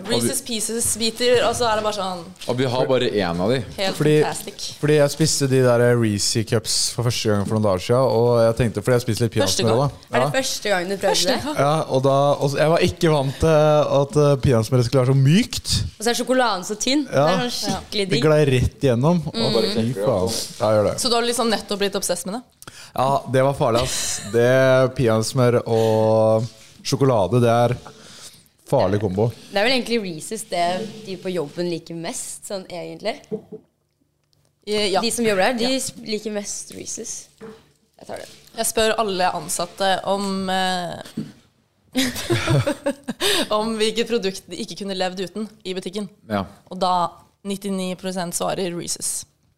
Speaker 5: Reeses Pieces-biter, og så er det bare sånn
Speaker 3: Og vi har bare én av de.
Speaker 5: helt
Speaker 4: Fordi-
Speaker 5: fantastic.
Speaker 4: Fordi jeg spiste de der Reezy cups for første gang for noen dager siden. Og jeg tenkte, fordi jeg spiste litt
Speaker 5: Første
Speaker 4: peanøttsmør
Speaker 5: gang?
Speaker 4: òg.
Speaker 6: Er det første gang du prøvde det?
Speaker 4: Ja, og da, og så- jeg var ikke vant til at eh, peanøttsmøret skulle være så mykt.
Speaker 6: Og så er sjokoladen så tynn. Det
Speaker 4: Ja.
Speaker 6: er sånn skikkelig
Speaker 4: Det
Speaker 6: digg. Mm.
Speaker 4: glei rett igjennom. Og
Speaker 3: Bare
Speaker 4: fy
Speaker 3: klekker det
Speaker 4: faen. Ja, gjør det.
Speaker 5: Så du har liksom nettopp blitt obsess med det?
Speaker 4: Ja, det var farlig, ass. Det peanøttsmør og sjokolade, det er farlig kombo.
Speaker 6: Det er vel egentlig Reeses det de på jobben liker mest, sånn egentlig.
Speaker 5: Eh, Ja.
Speaker 6: De som jobber der, de liker mest Reeses. Jeg tar det.
Speaker 5: Jeg spør alle ansatte om eh, Om hvilket produkt de ikke kunne levd uten i butikken.
Speaker 3: Ja.
Speaker 5: Og da 99 svarer Reeses.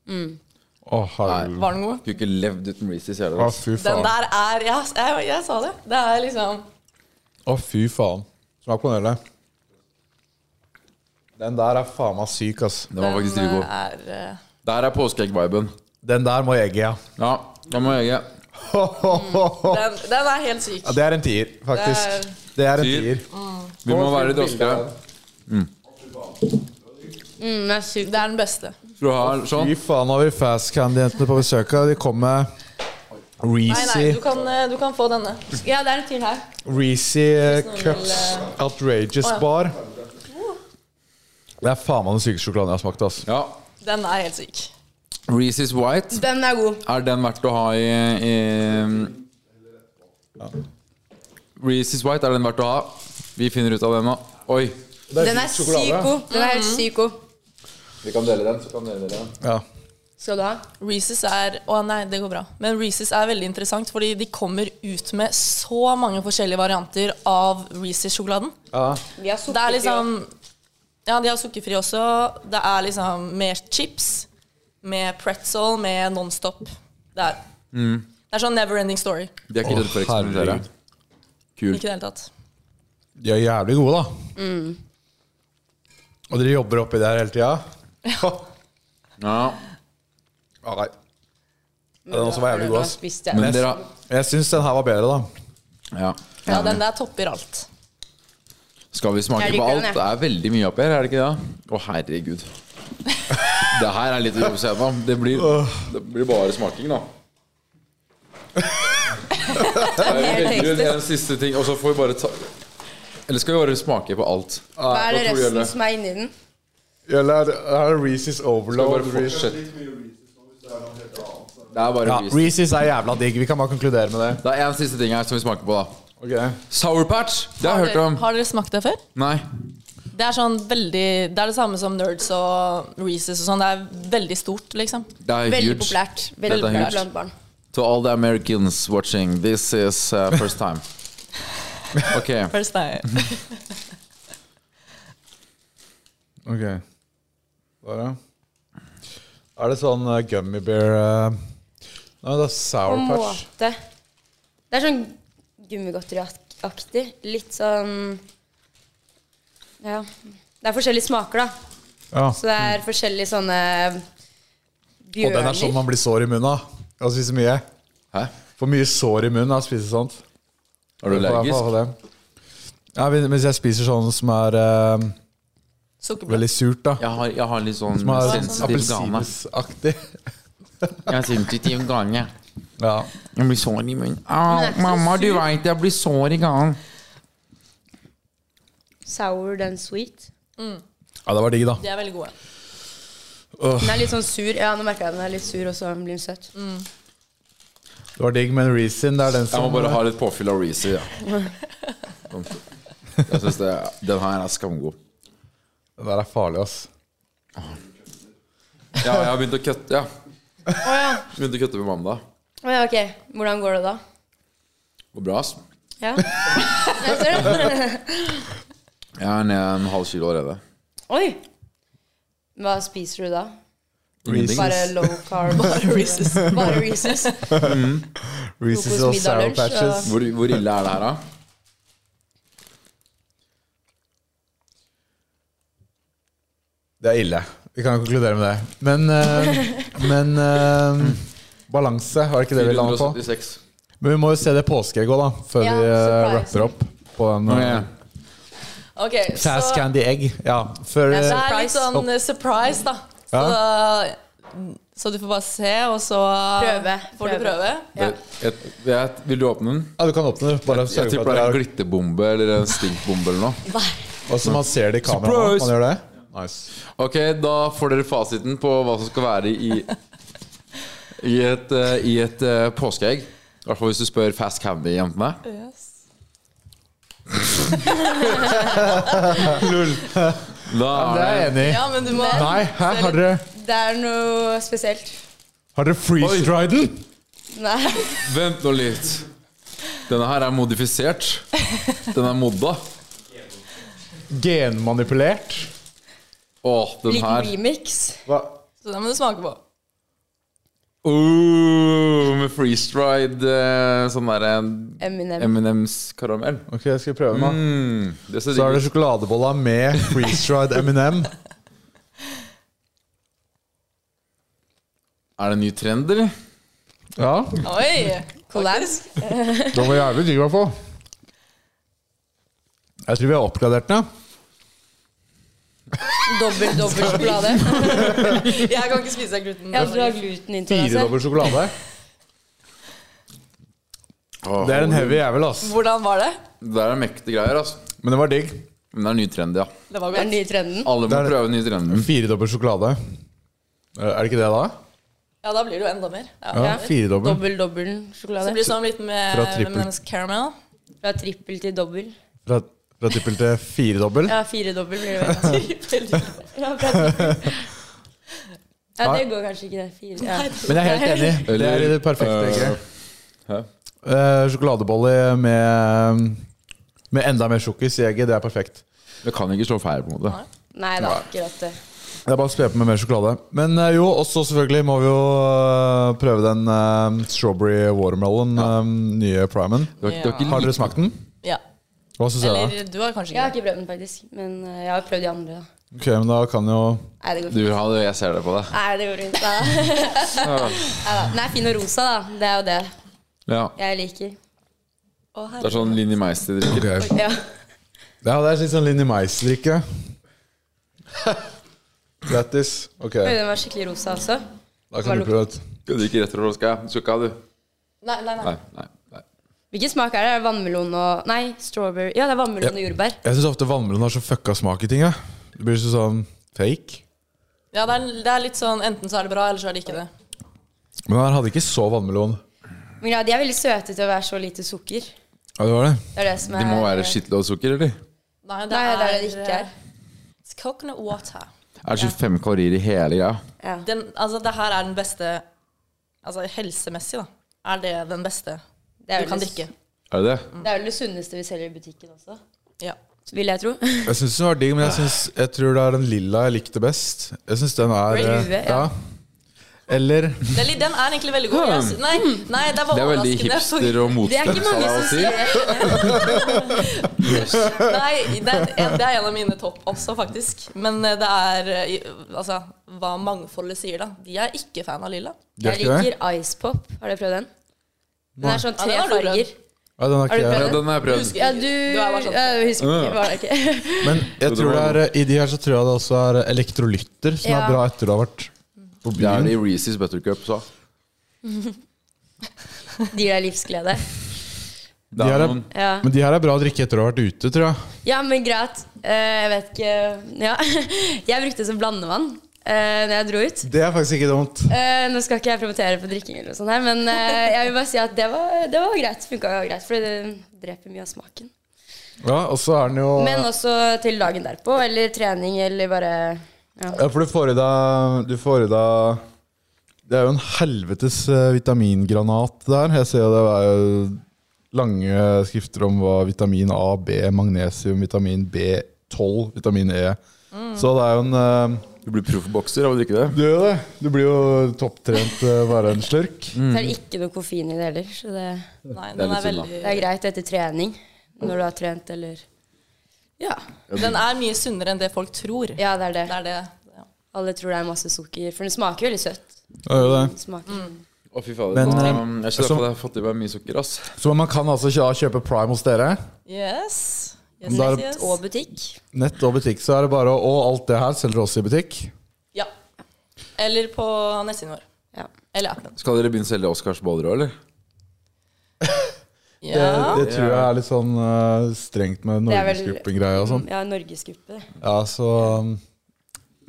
Speaker 4: Å, herregud.
Speaker 5: Var den god?
Speaker 3: Skulle ikke levd uten Reese's. jævla.
Speaker 4: Å, fy
Speaker 5: Den
Speaker 4: faen.
Speaker 5: der er jeg, jeg, jeg sa det. Det er liksom
Speaker 4: Å, fy faen. Smak på den der. Den der er faen meg syk, ass.
Speaker 3: Den var faktisk
Speaker 5: Den
Speaker 3: drivgod.
Speaker 5: er eh,
Speaker 3: Der er påskeegg-viben.
Speaker 4: Den der må jeg egge, ja.
Speaker 3: Ja, da må jeg
Speaker 5: den, den er helt syk.
Speaker 4: Ja, Det er en tier, faktisk. Det er en
Speaker 3: Tier.
Speaker 4: tier.
Speaker 3: Vi må være litt raskere.
Speaker 6: Mm, det er sykt.
Speaker 5: Det er den beste.
Speaker 3: Skal du ha sånn?
Speaker 4: Fy faen, nå har vi Fast Candy-jentene på besøk. og De kom med
Speaker 5: Nei, nei,
Speaker 4: Reezy
Speaker 5: du kan, eh, du kan få denne.
Speaker 6: Ja, det er en fyr her.
Speaker 4: Reezy eh, Cups Outrageous Bar. Det er faen meg den sykeste sjokoladen jeg har smakt. ass
Speaker 3: Ja.
Speaker 5: Den er helt syk.
Speaker 3: Reese's White.
Speaker 6: Den er god.
Speaker 3: Er den verdt å ha i, i Reese's White, er den verdt å ha? Vi finner ut av det nå. Oi.
Speaker 6: Den er sykt god. Den er helt
Speaker 5: Mm.
Speaker 6: sykt god.
Speaker 3: Vi kan dele den, så kan dere dele den.
Speaker 4: Ja.
Speaker 6: Skal du ha?
Speaker 5: Reeses er Å nei, det går bra. Men Reeses er veldig interessant, fordi de kommer ut med så mange forskjellige varianter av Reeses-sjokoladen.
Speaker 6: Vi har
Speaker 5: Det er liksom Ja, de har sukkerfri også. Det er liksom med chips, med pretzel, med Nonstop. Det er,
Speaker 4: Mm.
Speaker 5: det er sånn never ending story.
Speaker 3: De er ikke
Speaker 4: Å,
Speaker 3: redd for å eksperimentere.
Speaker 4: herregud.
Speaker 5: Ikke i det hele tatt.
Speaker 4: De er jævlig gode, da. Og dere jobber oppi der hele tida? Ja.
Speaker 3: Ja.
Speaker 4: nei. Den også var jævlig god, ass.
Speaker 6: god.
Speaker 3: Men
Speaker 4: Men
Speaker 3: dere
Speaker 4: jeg, jeg syns den her var bedre, da.
Speaker 3: ja.
Speaker 5: Ja, den der topper alt.
Speaker 3: Skal vi smake
Speaker 6: Jeg
Speaker 3: på
Speaker 6: liker
Speaker 3: alt?
Speaker 6: den, jeg.
Speaker 3: Det er veldig mye oppi her, er det ikke det? Å, herregud. Det her er litt urovekkende. Det, blir- det blir bare smaking, da. Jeg velger ut en siste ting, og så får vi bare ta Eller skal vi bare smake på alt?
Speaker 6: Hva er det
Speaker 3: Hva tror du
Speaker 6: resten
Speaker 3: gjelder?
Speaker 6: som er inni den?
Speaker 4: Eller er det Reese's
Speaker 3: Skal vi
Speaker 4: Overload?
Speaker 3: bare fortsette? Det er bare
Speaker 4: Ja,
Speaker 3: Reese's.
Speaker 4: Reese's er jævla digg. Vi kan bare konkludere med det.
Speaker 3: Det er en siste ting her som vi smaker på, da.
Speaker 4: Ok
Speaker 3: Sour Patch! Det har jeg hørt
Speaker 5: dere,
Speaker 3: om.
Speaker 5: har dere smakt det før?
Speaker 3: Nei.
Speaker 5: Det er sånn veldig Det er det samme som Nerds og Reeses og sånn. Det er veldig stort, liksom.
Speaker 3: Det er
Speaker 6: Veldig
Speaker 3: huge.
Speaker 6: populært.
Speaker 3: Dette
Speaker 6: Veldig
Speaker 3: er
Speaker 6: populært
Speaker 3: huge.
Speaker 6: blant barn.
Speaker 3: To all the Americans watching, this is uh, first time. Ok.
Speaker 5: First time.
Speaker 4: Ok Bare Er det sånn uh, gummy bear eh, Nei, det er
Speaker 6: På
Speaker 4: Sour
Speaker 6: en
Speaker 4: Patch.
Speaker 6: måte. Det er sånn gummigodteriaktig. Litt sånn Ja. Det er forskjellige smaker, da.
Speaker 4: Ja.
Speaker 6: Så det er forskjellige sånne
Speaker 4: Og den
Speaker 6: bjørner.
Speaker 4: Mm. er sånn man blir sår i munnen av. Å spise mye.
Speaker 3: Hæ?
Speaker 4: For mye sår i munnen av å spise sånt.
Speaker 3: Er du allergisk?
Speaker 4: Ja, hvis- hvis jeg spiser sånn som er eh,
Speaker 5: Sukkerblad.
Speaker 4: veldig surt, da.
Speaker 3: Jeg har, jeg har litt sånn
Speaker 4: Som er
Speaker 3: sensitiv gane.
Speaker 4: appelsinaktig.
Speaker 3: Jeg har sensitiv gane.
Speaker 4: Ja.
Speaker 3: Jeg blir sår i munnen. Au,
Speaker 6: Men det er ikke så
Speaker 3: mamma, du
Speaker 6: sur.
Speaker 3: veit jeg blir sår i ganen.
Speaker 6: Sour than sweet.
Speaker 4: ja, det var digg, da.
Speaker 5: De er veldig gode.
Speaker 6: Den er litt sånn sur. Ja, nå merker jeg den er litt sur, og så blir den søt.
Speaker 4: Mm. Det var digg, men Reesin, det er den
Speaker 3: Jeg
Speaker 4: som
Speaker 3: må bare ha litt påfyll av Reezy. Ja. Sånn. Jeg syns den her er skamgod.
Speaker 4: Den der er farlig, ass.
Speaker 3: Ja, jeg har begynt å køtte ja.
Speaker 6: Å ja.
Speaker 3: Begynte å køtte med mamma da.
Speaker 6: Å ja, ok. Hvordan går det da?
Speaker 3: Går bra, ass.
Speaker 6: Ja. Jeg ser det.
Speaker 3: Jeg er nede en halv kilo allerede.
Speaker 6: Oi. Hva spiser du da?
Speaker 3: Ingenting.
Speaker 6: Bare low carb? Bare Reeses. Bare Reeses.
Speaker 4: Reese's
Speaker 6: Frokost,
Speaker 4: og
Speaker 6: middag,
Speaker 4: Sour
Speaker 6: lunsj,
Speaker 4: Patches.
Speaker 3: Hvor, hvor ille er det her, da?
Speaker 4: Det er ille. Vi kan konkludere med det. Men, eh, men eh, balanse, var det ikke det vi landet på?
Speaker 3: 476.
Speaker 4: Men vi må jo se det påskeegget òg, da. Før
Speaker 6: Ja,
Speaker 4: vi eh,
Speaker 6: surprise.
Speaker 4: rapper opp på den.
Speaker 3: Nå
Speaker 4: eh,
Speaker 3: er jeg-
Speaker 5: Ok,
Speaker 4: Sass
Speaker 5: så
Speaker 4: Candy Egg. Ja, før
Speaker 5: det
Speaker 4: eh,
Speaker 5: er litt sånn eh, surprise, da. Så, så du får bare se, og så
Speaker 6: Prøve,
Speaker 5: får du
Speaker 6: prøve.
Speaker 5: prøve.
Speaker 6: Ja.
Speaker 3: Jeg, jeg, vil du åpne den?
Speaker 4: Ja, du kan åpne det. Bare
Speaker 3: Jeg
Speaker 4: sørg
Speaker 3: tipper
Speaker 4: for
Speaker 3: det er en
Speaker 4: at det er
Speaker 3: glitterbombe eller en stinkbombe eller noe.
Speaker 4: Og så man ser det i kameraet.
Speaker 3: Surprise!
Speaker 4: Man gjør det. Nice.
Speaker 3: Ok, da får dere fasiten på hva som skal være i I et, eh, i et eh, påskeegg. I hvert fall hvis du spør Fast Candy-jentene. Da
Speaker 4: Det er
Speaker 3: er
Speaker 4: jeg
Speaker 3: det
Speaker 4: enig i.
Speaker 5: Ja, men du må
Speaker 4: Nei, hæ? Har dere,
Speaker 6: Det er noe spesielt.
Speaker 4: har dere freeze-dried den?
Speaker 6: Nei.
Speaker 3: Vent nå litt. Denne her er modifisert. Den er modda.
Speaker 4: Genmanipulert?
Speaker 3: Åh, den
Speaker 6: Liten
Speaker 3: her.
Speaker 6: remix.
Speaker 4: Hva?
Speaker 5: Så det må du smake på.
Speaker 3: Uh, med freeze-dried eh, sånn derre
Speaker 6: Eminem.
Speaker 3: M&M's karamell.
Speaker 4: Ok, jeg skal prøve den, da.
Speaker 3: Mm, det ser
Speaker 4: Så er
Speaker 3: digg
Speaker 4: det sjokoladebolla med freeze-dried M&M.
Speaker 3: ut. Er det en ny trend, eller?
Speaker 4: Ja,
Speaker 5: Oi!
Speaker 6: Collabs.
Speaker 4: den var jævlig digg, i hvert fall. Jeg tror vi har oppgradert den, ja.
Speaker 6: Dobbel, dobbel sjokolade.
Speaker 5: Jeg kan ikke spise gluten.
Speaker 6: Jeg tror du har glutenintoleranse.
Speaker 4: Firedobbel sjokolade. Det er en heavy jævel, ass.
Speaker 5: Hvordan var det?
Speaker 3: Det er mektige greier, altså.
Speaker 4: Men det var digg.
Speaker 3: Men det er en ny trend, ja.
Speaker 5: Det var
Speaker 6: Det er den
Speaker 5: godt.
Speaker 6: nye trenden.
Speaker 3: Alle må
Speaker 4: Det er-
Speaker 3: prøve den nye trenden.
Speaker 4: Firedobbel sjokolade. Eh, Er det ikke det, da?
Speaker 5: Ja, da blir det jo enda mer. Ja.
Speaker 4: Ja, firedobbel.
Speaker 6: Dobbel, dobbel
Speaker 5: Så
Speaker 6: sjokolade.
Speaker 5: blir det sånn liten med
Speaker 4: Fra trippel.
Speaker 5: M&M's caramel.
Speaker 6: Fra trippel til dobbel.
Speaker 4: Fra, fra trippel til firedobbel.
Speaker 6: Ja, firedobbel blir det vel. Ja, fra trippel. ja, det går kanskje ikke, det. Fire. Ja.
Speaker 4: Men jeg er helt enig. Det er i det perfekte.
Speaker 3: Eller, øh,
Speaker 4: ikke?
Speaker 3: hæ?
Speaker 4: Eh, sjokoladebolle med, med enda mer sjokkis i egget, det er perfekt.
Speaker 3: Det kan ikke slå feil, på en måte.
Speaker 6: Nei, det er akkurat det.
Speaker 4: Det er bare å spe på med mer sjokolade. Men eh, jo, også selvfølgelig må vi jo eh, prøve den eh, strawberry watermelon, eh, nye primen.
Speaker 3: Du har, du har ikke
Speaker 4: Har dere
Speaker 3: likt-
Speaker 4: smakt den?
Speaker 5: Ja.
Speaker 4: Hva syns dere?
Speaker 5: Eller du har kanskje
Speaker 6: Jeg har
Speaker 5: ikke det.
Speaker 6: ikke prøvd den, faktisk. Men eh, jeg har prøvd de andre. da.
Speaker 4: Ok, men da kan jo
Speaker 6: Nei, det går
Speaker 3: Du
Speaker 6: fint.
Speaker 3: vil ha det, jeg ser det på deg.
Speaker 6: Nei, det går fint. Nei. Nei, da. Den er fin og rosa, da. Det er jo det
Speaker 3: Ja.
Speaker 6: jeg liker.
Speaker 5: Å,
Speaker 3: Det
Speaker 5: herre.
Speaker 3: er sånn Linni Meister drikker.
Speaker 6: Ja.
Speaker 4: Ja, det er litt sånn Linni Mais-drikke. Lættis. Ok,
Speaker 6: Oi, den var skikkelig rosa også.
Speaker 4: da kan du prøve et.
Speaker 3: Du drikker rett fra flaska. Du skal ikke ha, du.
Speaker 5: Nei, nei, nei.
Speaker 3: Nei, nei, nei.
Speaker 6: Hvilken smak er det? Er det Vannmelon og Nei, strawberry. Ja, det er vannmelon og jordbær.
Speaker 4: Jeg syns ofte vannmelon har så fucka smak i ting. jeg. Det blir så sånn fake.
Speaker 5: Ja, det er, det er litt sånn enten så er det bra, eller så er det ikke det.
Speaker 4: Men den her hadde ikke så vannmelon.
Speaker 6: Men ja, de er veldig søte til å være så lite sukker.
Speaker 4: Ja, det var det.
Speaker 6: Det er det som er
Speaker 3: De må være skittlodd sukker, eller?
Speaker 5: Nei,
Speaker 6: Nei, det er det det ikke er.
Speaker 5: It's coconut water.
Speaker 3: Er det 25 kalorier i hele greia?
Speaker 6: Ja.
Speaker 5: Den, altså, det her er den beste Altså helsemessig, da. Er det den beste
Speaker 6: Det er
Speaker 5: du
Speaker 6: vel
Speaker 5: kan
Speaker 6: det-
Speaker 5: drikke? Mm.
Speaker 3: Er det det?
Speaker 6: Det er vel det sunneste vi selger i butikken også,
Speaker 5: Ja.
Speaker 6: vil jeg tro.
Speaker 4: Jeg syns den var digg, men jeg, synes, jeg tror det er den lilla jeg likte best. Jeg synes den er
Speaker 6: Red Lue,
Speaker 4: eh,
Speaker 6: ja.
Speaker 4: Eller
Speaker 5: Den, er litt- den er egentlig veldig god. Jeg sy- Nei, nei, det
Speaker 3: Hmm.
Speaker 5: var
Speaker 3: Det er veldig
Speaker 5: overraskende.
Speaker 3: hipster og
Speaker 6: Det er
Speaker 3: motstand,
Speaker 6: ikke mange som
Speaker 3: si.
Speaker 6: sier det.
Speaker 5: Nei, det er, det er en av mine topp også, faktisk. Men eh, det er eh, i- altså, hva mangfoldet sier, da. De er ikke fan av lilla.
Speaker 4: Det er
Speaker 6: Jeg
Speaker 4: ikke det?
Speaker 6: liker Ice Pop. Har dere prøvd den? Den er sånn
Speaker 5: Ja,
Speaker 6: tre
Speaker 5: den har du prøvd.
Speaker 6: farger.
Speaker 4: ja, den er
Speaker 6: Har du
Speaker 4: ikke,
Speaker 6: prøvd
Speaker 3: Ja, den har jeg prøvd.
Speaker 6: Ja, du
Speaker 5: er bare sånn.
Speaker 6: ja, jeg husker ikke. Var det ikke?
Speaker 4: Men jeg
Speaker 3: det
Speaker 4: tror det
Speaker 3: var
Speaker 4: er eh, i de her så tror jeg det også er elektrolytter, som
Speaker 6: Ja.
Speaker 4: er bra etter du har vært på
Speaker 3: Det er
Speaker 4: byen.
Speaker 3: det i Reese's Buttercup, så.
Speaker 6: De gir deg livsglede.
Speaker 3: Det
Speaker 4: De
Speaker 3: er
Speaker 4: er-
Speaker 3: noen
Speaker 6: Ja,
Speaker 4: Men de her er bra å drikke etter du har vært ute, tror jeg.
Speaker 6: ja men greit. Eh, jeg vet ikke Ja. Jeg brukte det som blandevann eh, når jeg dro ut.
Speaker 4: Det er faktisk ikke dumt.
Speaker 6: Eh, nå skal ikke jeg promotere på drikking, eller noe sånt her, men eh, jeg vil bare si at det var, det var greit. Funka greit, for det dreper mye av smaken.
Speaker 4: Ja, og så er den jo
Speaker 6: Men også til dagen derpå, eller trening, eller bare
Speaker 4: Ja, for du får i deg Du får i deg Det er jo en helvetes eh, vitamingranat der. Jeg ser jo det er jo lange skrifter om hva vitamin A, B, magnesium, vitamin B12, vitamin E
Speaker 6: Mm.
Speaker 4: Så det er jo en eh,
Speaker 3: Du blir proffbokser av å drikke det.
Speaker 4: Du gjør det. Du blir jo topptrent eh, bare en slurk.
Speaker 6: Så er det ikke noe koffein i det heller, så det,
Speaker 5: Nei,
Speaker 3: Det er
Speaker 5: den er
Speaker 3: litt synd, da.
Speaker 5: veldig
Speaker 6: det er greit etter trening. Når du har trent, eller
Speaker 5: Ja. Den er mye sunnere enn det folk tror.
Speaker 6: Ja, det er det.
Speaker 5: Det er det. Ja.
Speaker 6: Alle tror det er masse sukker, for den smaker veldig søtt.
Speaker 4: Ja, gjør det.
Speaker 6: Den smaker
Speaker 3: Å, fy fader.
Speaker 4: Men,
Speaker 3: nå-
Speaker 4: eh,
Speaker 3: jeg skjønner
Speaker 4: så-
Speaker 3: at jeg har fått i meg mye sukker, ass.
Speaker 4: Så man kan altså kjø- kjøpe Prime hos dere.
Speaker 5: Yes. Yes,
Speaker 4: Da er
Speaker 5: yes,
Speaker 4: det-
Speaker 5: yes.
Speaker 6: Og butikk.
Speaker 4: Nett og butikk, så er det bare å Og alt det her selger dere også i butikk.
Speaker 5: Ja. Eller på nettsiden vår.
Speaker 6: Ja.
Speaker 5: Eller appen.
Speaker 3: Skal dere begynne å selge Oscars boller òg, eller?
Speaker 5: Ja.
Speaker 4: Det tror jeg er litt sånn eh, strengt med
Speaker 6: Det er vel-
Speaker 4: Norgesgruppen-greia og sånn.
Speaker 6: Ja, norgesgruppe. det.
Speaker 4: Ja, så um,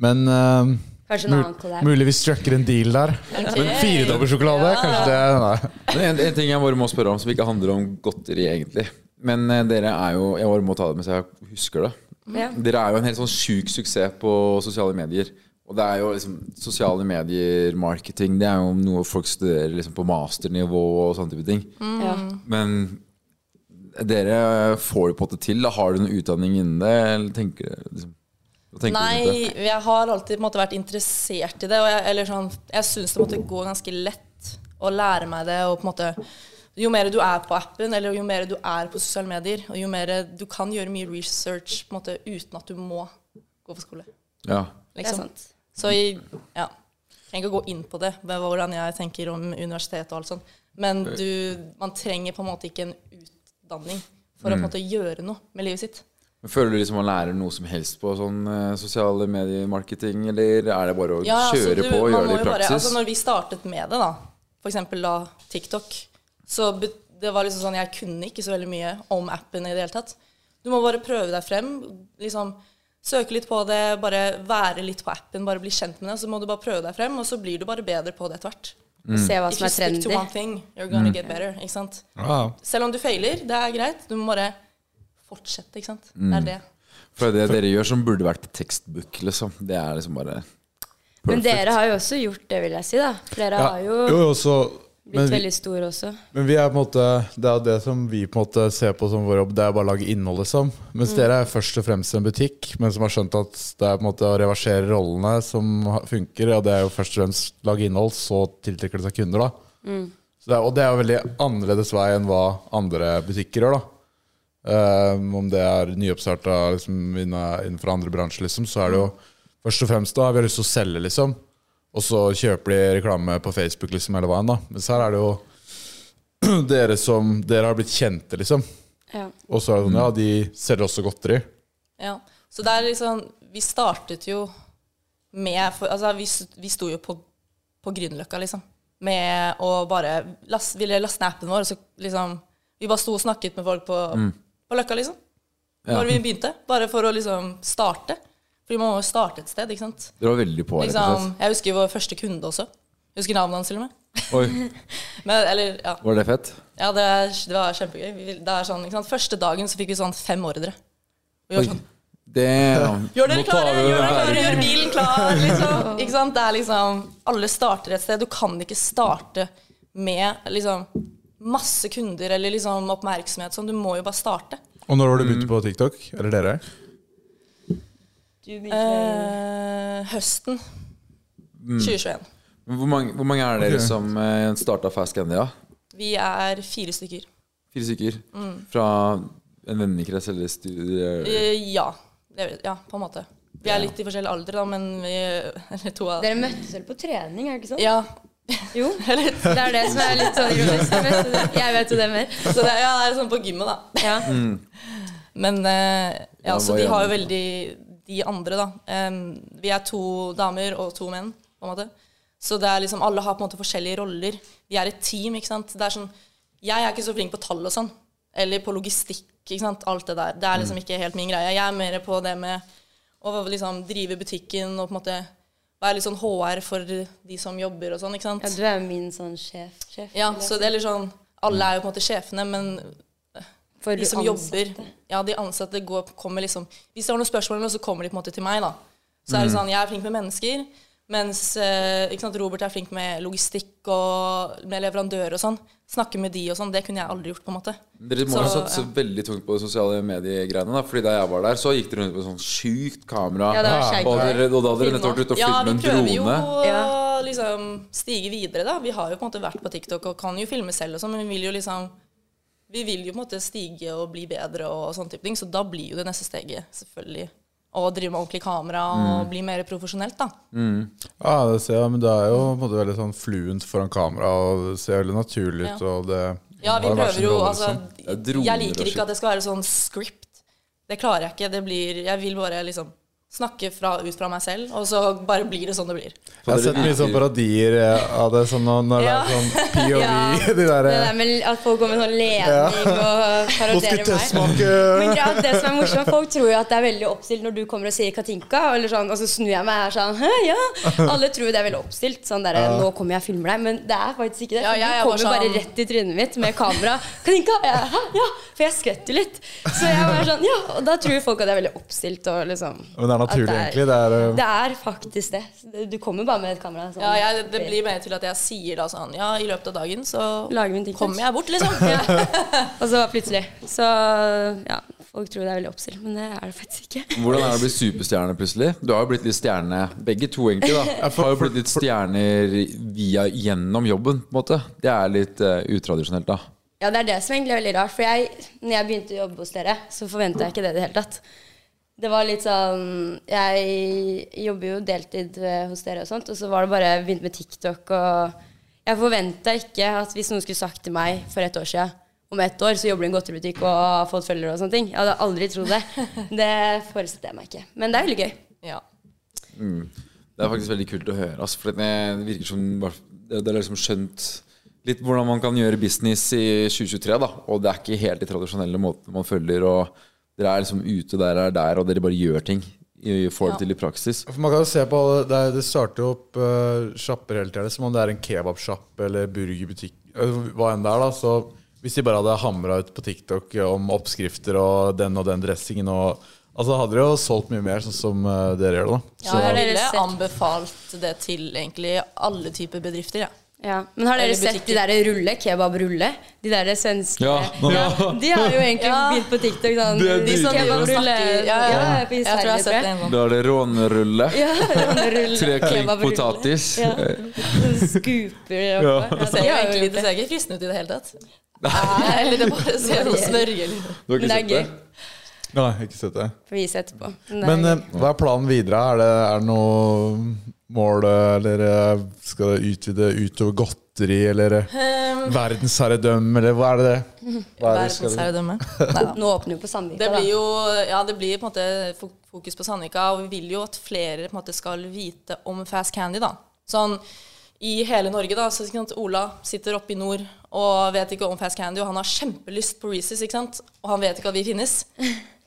Speaker 4: Men um,
Speaker 6: Kanskje en
Speaker 4: mul
Speaker 6: annen kollab.
Speaker 4: mulig vi strucker en deal der. Men firedobbel sjokolade, kanskje det Nei.
Speaker 3: Men en, en ting jeg bare må spørre om som ikke handler om godteri, egentlig. Men eh, dere er jo Jeg bare må ta det mens jeg husker det.
Speaker 6: Ja.
Speaker 3: Dere er jo en helt sånn sjuk suksess på sosiale medier. Og det er jo liksom sosiale medier, marketing, det er jo noe folk studerer liksom på masternivå og sånne type ting.
Speaker 6: Ja.
Speaker 3: Men dere får det på en måte til. da. Har du noen utdanning innen det, eller tenker dere liksom, hva tenker dere rundt det?
Speaker 5: Nei, jeg har alltid på en måte vært interessert i det. Og jeg, eller sånn, jeg syns det måtte gå ganske lett å lære meg det. Og på en måte, jo mer du er på appen, eller jo mer du er på sosiale medier, og jo mer du kan gjøre mye research på en måte, uten at du må gå på skole.
Speaker 3: Ja.
Speaker 6: Det er
Speaker 5: Liksom.
Speaker 6: sant.
Speaker 5: Så jeg ja, trenger ikke å gå inn på det, med hvordan jeg tenker om universitet og alt sånt. Men
Speaker 3: Eh.
Speaker 5: du, man trenger på en måte ikke en utdanning for å
Speaker 3: Mm.
Speaker 5: på en måte gjøre noe med livet sitt.
Speaker 3: Men Føler du liksom man lærer noe som helst på sånn eh, sosiale medier-marketing, eller er det bare å
Speaker 5: Ja, altså,
Speaker 3: kjøre
Speaker 5: du-
Speaker 3: på og
Speaker 5: man
Speaker 3: gjøre det
Speaker 5: må
Speaker 3: i
Speaker 5: jo bare-
Speaker 3: praksis?
Speaker 5: altså, når vi startet med det, da, for eksempel da TikTok, så be- det var liksom sånn jeg kunne ikke så veldig mye om appen i det hele tatt. Du må bare prøve deg frem. liksom Søke litt på det, bare være litt på appen, bare bli kjent med det. Så må du bare prøve deg frem, og så blir du bare bedre på det etter hvert.
Speaker 6: Se hva
Speaker 5: If you
Speaker 6: som er
Speaker 5: stick to
Speaker 6: trendy.
Speaker 5: one thing, you're gonna get better. Ikke sant? Selv om du feiler, det er greit. Du må bare fortsette, ikke sant. Det er det.
Speaker 3: For det dere gjør som burde vært tekstbook, liksom. Det er liksom bare
Speaker 6: Men
Speaker 3: perfect.
Speaker 6: dere har jo også gjort det, vil jeg si. da Dere
Speaker 4: Ja.
Speaker 6: har
Speaker 4: Jo,
Speaker 6: jo
Speaker 4: jo, så- men,
Speaker 6: blitt
Speaker 4: vi,
Speaker 6: veldig store også.
Speaker 4: men vi er på en måte Det er jo det som vi på en måte ser på som vår jobb, det er bare å lage innhold, liksom. Mens dere er først og fremst en butikk, men som har skjønt at det er på en måte å reversere rollene som ha- funker. Ja, det er jo først og fremst lage innhold, så tiltrekker det seg kunder, da. Så det er, og det er jo veldig annerledes vei enn hva andre butikker gjør, da. Um, om det er nyoppstarta liksom, inna- innenfor andre bransjer, liksom, så er det jo først og fremst da vi har lyst til å selge, liksom. Og så kjøper de reklame på Facebook liksom hele veien, da. Mens her er det jo dere som Dere har blitt kjente, liksom.
Speaker 6: Ja.
Speaker 4: Og så er det sånn, ja, de selger også godteri.
Speaker 5: Ja, så det er liksom Vi startet jo med for, Altså, vi, s- vi sto jo på, på Grünerløkka, liksom. Med å bare last, Ville laste ned appen vår, og så liksom Vi bare sto og snakket med folk på, på Løkka, liksom. Når vi begynte. Bare for å liksom starte. Fordi man må jo starte et sted, ikke sant.
Speaker 3: Dere var veldig på, rett og
Speaker 5: Liksom,
Speaker 3: slett.
Speaker 5: jeg husker vår første kunde også. Jeg husker navnet hans til og med.
Speaker 3: Oi,
Speaker 5: Men, eller, ja.
Speaker 3: var det fett?
Speaker 5: Ja, det, er, det var kjempegøy. Vi, vil- det er sånn, ikke sant? Første dagen så fikk vi sånn fem ordre. Og vi var
Speaker 3: Oi.
Speaker 5: sånn,
Speaker 3: Det
Speaker 5: Gjør dere
Speaker 3: Nå tar
Speaker 5: klare,
Speaker 3: vi
Speaker 5: gjør
Speaker 3: den
Speaker 5: dere klare,
Speaker 3: her.
Speaker 5: gjør bilen klar! Liksom. Ikke sant? Det er liksom Alle starter et sted. Du kan ikke starte med liksom masse kunder eller liksom oppmerksomhet sånn. Du må jo bare starte.
Speaker 4: Og når var du begynt på TikTok? Eller dere?
Speaker 5: Eh, høsten
Speaker 3: Mm.
Speaker 5: 2021.
Speaker 3: Men Hvor mange, hvor mange er dere som eh, starta Fast Candy? da?
Speaker 5: Vi er fire stykker.
Speaker 3: Fire stykker? Fra en vennekrets eller studie...
Speaker 5: Eh, Mm. ja. Det, er- ja, på en måte. Vi er litt i forskjellig alder, da, men vi Eller to av
Speaker 6: Eh, Dere møttes vel på trening, er det ikke sant?
Speaker 5: Ja.
Speaker 6: Jo.
Speaker 5: Eller,
Speaker 6: Det er det som er litt sånn ironisk. Jeg vet jo det- Jeg vet jo det mer.
Speaker 5: så det, er- ja, det er sånn på gymmet, da.
Speaker 6: Ja.
Speaker 5: Men eh,
Speaker 3: Ja,
Speaker 5: ja, så
Speaker 3: hva
Speaker 5: de
Speaker 3: gjør
Speaker 5: har jo
Speaker 3: man?
Speaker 5: veldig De andre, da. Em, vi er to damer og to menn, på en måte. Så det er liksom, alle har på en måte forskjellige roller. Vi er et team, ikke sant. Det er sånn, jeg er ikke så flink på tall og sånn. Eller på logistikk, ikke sant. Alt det der. Det er
Speaker 3: Mm.
Speaker 5: liksom ikke helt min greie. Jeg er mer på det med å liksom drive butikken og på en måte være litt sånn HR for de som jobber og sånn, ikke sant.
Speaker 6: ja, du er jo min sånn sjef. sjef
Speaker 5: Ja,
Speaker 6: eller?
Speaker 5: så det er litt sånn Alle er jo på en måte sjefene, men
Speaker 6: For
Speaker 5: de
Speaker 6: du
Speaker 5: som
Speaker 6: ansatte.
Speaker 5: jobber Ja, de ansatte går, kommer liksom Hvis de har noen spørsmål, eller noe, så kommer de på en måte til meg, da. Så
Speaker 3: Mm.
Speaker 5: er det sånn, jeg er flink med mennesker, mens eh, ikke sant, Robert er flink med logistikk og med leverandører og sånn. Snakke med de og sånn, det kunne jeg aldri gjort, på en måte.
Speaker 3: Dere må
Speaker 5: Så,
Speaker 3: ha satse
Speaker 5: ja.
Speaker 3: veldig tungt på de sosiale mediegreiene. Da. Fordi da jeg var der, så gikk dere rundt med sånn sjukt kamera.
Speaker 6: Ja, det var skjegg.
Speaker 3: og, dere, og da hadde dere nettopp vært ute og
Speaker 5: Ja,
Speaker 3: filmet
Speaker 5: vi
Speaker 3: en
Speaker 5: prøver jo
Speaker 3: drone.
Speaker 5: å
Speaker 6: Ja.
Speaker 5: liksom, stige videre, da. Vi har jo på en måte vært på TikTok og kan jo filme selv og sånn, men vi vil jo liksom Vi vil jo på en måte stige og bli bedre og sånn type ting, så da blir jo det neste steget selvfølgelig å drive med ordentlig kamera og
Speaker 3: Mm.
Speaker 5: bli mer profesjonelt, da.
Speaker 4: Ja, det ser jeg, men det er jo på en måte veldig sånn fluent foran kamera, og det ser veldig naturlig ut.
Speaker 5: Ja.
Speaker 4: Og det,
Speaker 5: Ja, vi
Speaker 4: har hver
Speaker 5: prøver
Speaker 4: sin
Speaker 5: jo
Speaker 4: rolle,
Speaker 5: altså,
Speaker 4: liksom.
Speaker 3: Det er droner
Speaker 5: Jeg
Speaker 3: og
Speaker 5: liker
Speaker 3: shit.
Speaker 5: ikke at det skal være sånn script. Det klarer jeg ikke. Det blir, jeg vil bare liksom snakke fra, ut fra meg selv, og så bare blir det sånn det blir.
Speaker 4: Jeg har sett mye sånn parodier eh, av det, sånn når, når
Speaker 5: Ja.
Speaker 4: det er sånn POV
Speaker 6: Ja.
Speaker 4: de der,
Speaker 6: Det
Speaker 4: eh,
Speaker 6: der med at folk går med sånn ledning og
Speaker 4: Nå
Speaker 6: parodierer
Speaker 4: skal jeg
Speaker 6: meg.
Speaker 4: smake
Speaker 6: Men greia er at det som er morsomt, Folk tror jo at det er veldig oppstilt når du kommer og sier Katinka, eller sånn, og så snur jeg meg her sånn Hæ, ja? Alle tror jo det er veldig oppstilt. Sånn der, Nå kommer jeg og filmer deg. Men det er faktisk ikke
Speaker 5: Ja,
Speaker 6: det. for
Speaker 5: jeg
Speaker 6: du
Speaker 5: var
Speaker 6: kommer bare
Speaker 5: sånn-
Speaker 6: rett i trynet mitt med kamera. Katinka! Ja, hæ, ja. For jeg skvetter litt. Så jeg var sånn, ja, og da tror folk at det er veldig oppstilt. Og liksom,
Speaker 4: Men det er naturlig,
Speaker 6: at
Speaker 4: egentlig. Det er, eh,
Speaker 6: det er faktisk det. Du kommer bare med et kamera. Sånn.
Speaker 5: Ja, jeg, det blir mer til at jeg sier da sånn Ja, i løpet av dagen så
Speaker 6: Lager min TikTok.
Speaker 5: kommer jeg bort, liksom. Ja.
Speaker 6: Og så plutselig. Så ja, folk tror det er veldig oppstilt, men det er det faktisk ikke.
Speaker 3: Hvordan er det å bli superstjerne plutselig? Du har jo blitt litt stjerne, begge to egentlig. da Har jo blitt litt stjerner via, gjennom jobben, på en måte. Det er litt eh, utradisjonelt, da.
Speaker 6: Ja, det er det som egentlig er veldig rart. For jeg, når jeg begynte å jobbe hos dere, så forventa jeg ikke det i det hele tatt. Det var litt sånn Jeg jobber jo deltid eh, hos dere og sånt, og så var det bare begynt med TikTok og Jeg forventa ikke at hvis noen skulle sagt til meg for et år siden om ett år så jobber du i en godteributikk og har fått følgere og sånne ting. Jeg hadde aldri trodd det. Det forestilte jeg meg ikke. Men det er veldig gøy.
Speaker 5: Ja.
Speaker 3: Det er faktisk veldig kult å høre. Altså, for det virker som Det er liksom skjønt litt hvordan man kan gjøre business i 2023. da Og det er ikke helt de tradisjonelle måtene man følger. Og Dere er liksom ute der er der, og dere bare gjør ting. I- Får det til i praksis.
Speaker 4: For man kan jo se på alle- Det, er- det starter jo opp eh, sjapper hele tiden som om det er en kebabsjapp eller burgerbutikk, eh, hva enn det er. da Så Hvis de bare hadde hamra ut på TikTok om oppskrifter og den og den dressingen og Altså hadde de jo solgt mye mer, sånn som eh, dere gjør det. da
Speaker 5: Ja, jeg
Speaker 6: har
Speaker 5: ville
Speaker 6: dere sett-
Speaker 5: anbefalt det til egentlig alle typer bedrifter. Ja.
Speaker 6: Ja, Men har dere
Speaker 5: Eller
Speaker 6: sett de
Speaker 5: butikker.
Speaker 6: der rulle, kebabrulle? De der svenske
Speaker 3: Ja.
Speaker 6: De har jo egentlig
Speaker 5: Ja.
Speaker 6: begynt på TikTok. Sånn,
Speaker 3: Det-
Speaker 5: De som driver og
Speaker 6: kebabrulle.
Speaker 5: snakker ja,
Speaker 6: Ja,
Speaker 5: ja.
Speaker 6: på
Speaker 5: Jeg tror jeg har sett det en gang.
Speaker 3: Da er det rånerulle,
Speaker 6: Instagram.
Speaker 3: tre klink potatis.
Speaker 6: Ja. Som Skuper opp. Ja.
Speaker 5: Det
Speaker 6: de
Speaker 5: ser jo
Speaker 6: har jo
Speaker 5: egentlig
Speaker 6: gjort
Speaker 5: det
Speaker 6: det.
Speaker 5: ser ikke fristende ut i det hele tatt. Nei, eller det bare ser noe smørje eller noe.
Speaker 3: Du har ikke
Speaker 6: Men det er
Speaker 3: sett det?
Speaker 6: gøy.
Speaker 4: Nei, ikke sett det.
Speaker 6: Får vise etterpå. Men det er
Speaker 4: Men
Speaker 6: gøy.
Speaker 4: eh, hva er planen videre? Er det, er det noe mål, eh, eller eh, skal det utvide utover godteri, eller eh, verdensherredømme, eller hva er det det? Hva er det skal du-
Speaker 5: Ehm, Verdensherredømme.
Speaker 6: nå åpner vi på Sandvika,
Speaker 5: Det blir
Speaker 6: da.
Speaker 5: jo ja, det blir på en måte fok- fokus på Sandvika, og vi vil jo at flere på en måte skal vite om Fast Candy. da. Sånn, I hele Norge, da, så ikke sant, Ola sitter oppe i nord og vet ikke om Fast Candy, og han har kjempelyst på Reeses, ikke sant? og han vet ikke at vi finnes.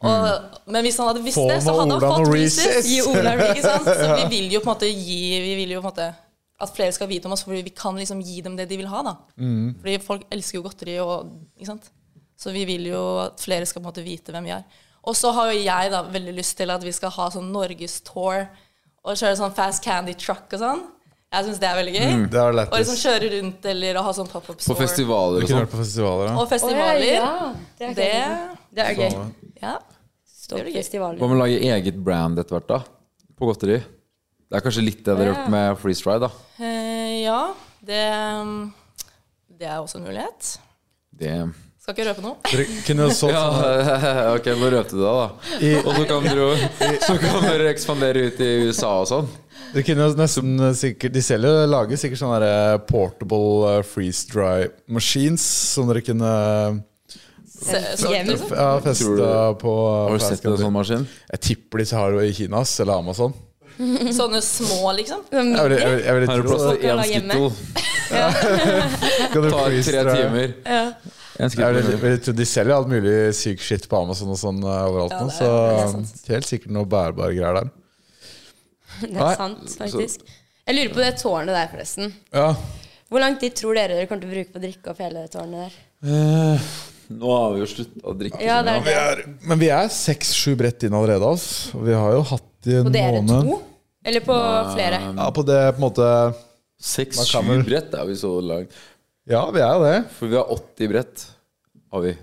Speaker 5: Og, men hvis han hadde visst
Speaker 4: Mm. Få
Speaker 5: det, så
Speaker 4: med
Speaker 5: hadde han
Speaker 4: Ola noe
Speaker 5: fått
Speaker 4: Reeses.
Speaker 5: Reeses. Gi Ola, ikke sant? Så vi vil jo på en måte gi vi vil jo på en måte at flere skal vite om oss, for vi kan liksom gi dem det de vil ha. da.
Speaker 4: Mm.
Speaker 5: Fordi folk elsker jo godteri. og, ikke sant? Så vi vil jo at flere skal på en måte vite hvem vi er. Og så har jo jeg da veldig lyst til at vi skal ha sånn norgestour og kjøre sånn Fast Candy Truck og sånn. Jeg syns det er veldig gøy.
Speaker 4: Mm, Det er
Speaker 5: og liksom
Speaker 4: lettest.
Speaker 5: kjøre rundt eller å ha sånn pop-up
Speaker 3: På
Speaker 5: store.
Speaker 3: festivaler og
Speaker 4: Ikke
Speaker 3: sånn.
Speaker 4: vært på festivaler, da?
Speaker 5: Og
Speaker 6: Å,
Speaker 5: festivaler.
Speaker 6: ja, ja. Det er gøy.
Speaker 5: Det
Speaker 6: Det er gøy.
Speaker 5: Ja.
Speaker 6: Stå
Speaker 5: Det
Speaker 6: på
Speaker 5: blir
Speaker 3: Hva
Speaker 5: gøy.
Speaker 6: festivaler.
Speaker 3: med å lage eget brand etter hvert, da? På godteri? Det er kanskje litt det dere har gjort med Freeze Ride, da.
Speaker 5: Eh, ja. Det, mm, det er også en mulighet.
Speaker 3: Det
Speaker 5: Skal ikke røpe noe.
Speaker 4: Dere kunne jo solgt
Speaker 3: Ja,
Speaker 4: sånn
Speaker 3: ok, nå røpte du deg, da. Og så kan dere, jo- så kan dere ekspandere ut i USA og sånn.
Speaker 4: Du kunne jo nesten eh, sikkert De selger jo lager sikkert sånne der, eh, portable eh, freeze dry machines som dere kunne eh,
Speaker 5: Se, så,
Speaker 6: Hjem, liksom.
Speaker 4: ja, festa på
Speaker 3: Har du
Speaker 4: på
Speaker 3: sett en sånn maskin?
Speaker 4: Jeg tipper de har det i Kina ass, eller Amazon.
Speaker 5: sånne små, liksom.
Speaker 6: Sånn
Speaker 4: Jeg vil, jeg vil, jeg
Speaker 3: Her
Speaker 4: vil
Speaker 3: er det
Speaker 4: tro
Speaker 3: plass
Speaker 4: det.
Speaker 3: til én
Speaker 6: Lage hjemme.
Speaker 3: skittel.
Speaker 4: Kan du
Speaker 3: Tar
Speaker 4: freeze
Speaker 3: tre
Speaker 4: dry?
Speaker 3: timer. En
Speaker 4: Jeg vil,
Speaker 3: skittel.
Speaker 4: jeg vil tro de selger alt mulig syk shit på Amazon og sånn eh, overalt nå,
Speaker 5: det
Speaker 4: så
Speaker 5: er-
Speaker 4: eh, helt sikkert noe bærbare greier der.
Speaker 6: Det er sant, faktisk. Jeg lurer på det tårnet der, forresten.
Speaker 4: Ja.
Speaker 6: Hvor lang tid tror dere dere kommer til å bruke på å drikke opp hele det tårnet der?
Speaker 4: Eh,
Speaker 3: Nå har vi jo slutta å drikke.
Speaker 6: Ja, det er det.
Speaker 4: Men vi er seks-sju brett inn allerede, altså. Og vi har jo hatt i en
Speaker 6: På dere
Speaker 4: måned
Speaker 6: to? Eller på flere?
Speaker 4: Ja, på det på en måte Man kan
Speaker 3: Seks-sju
Speaker 4: vel-
Speaker 3: brett er vi så langt.
Speaker 4: Ja, vi er jo det.
Speaker 3: For vi har 80 brett. Har vi.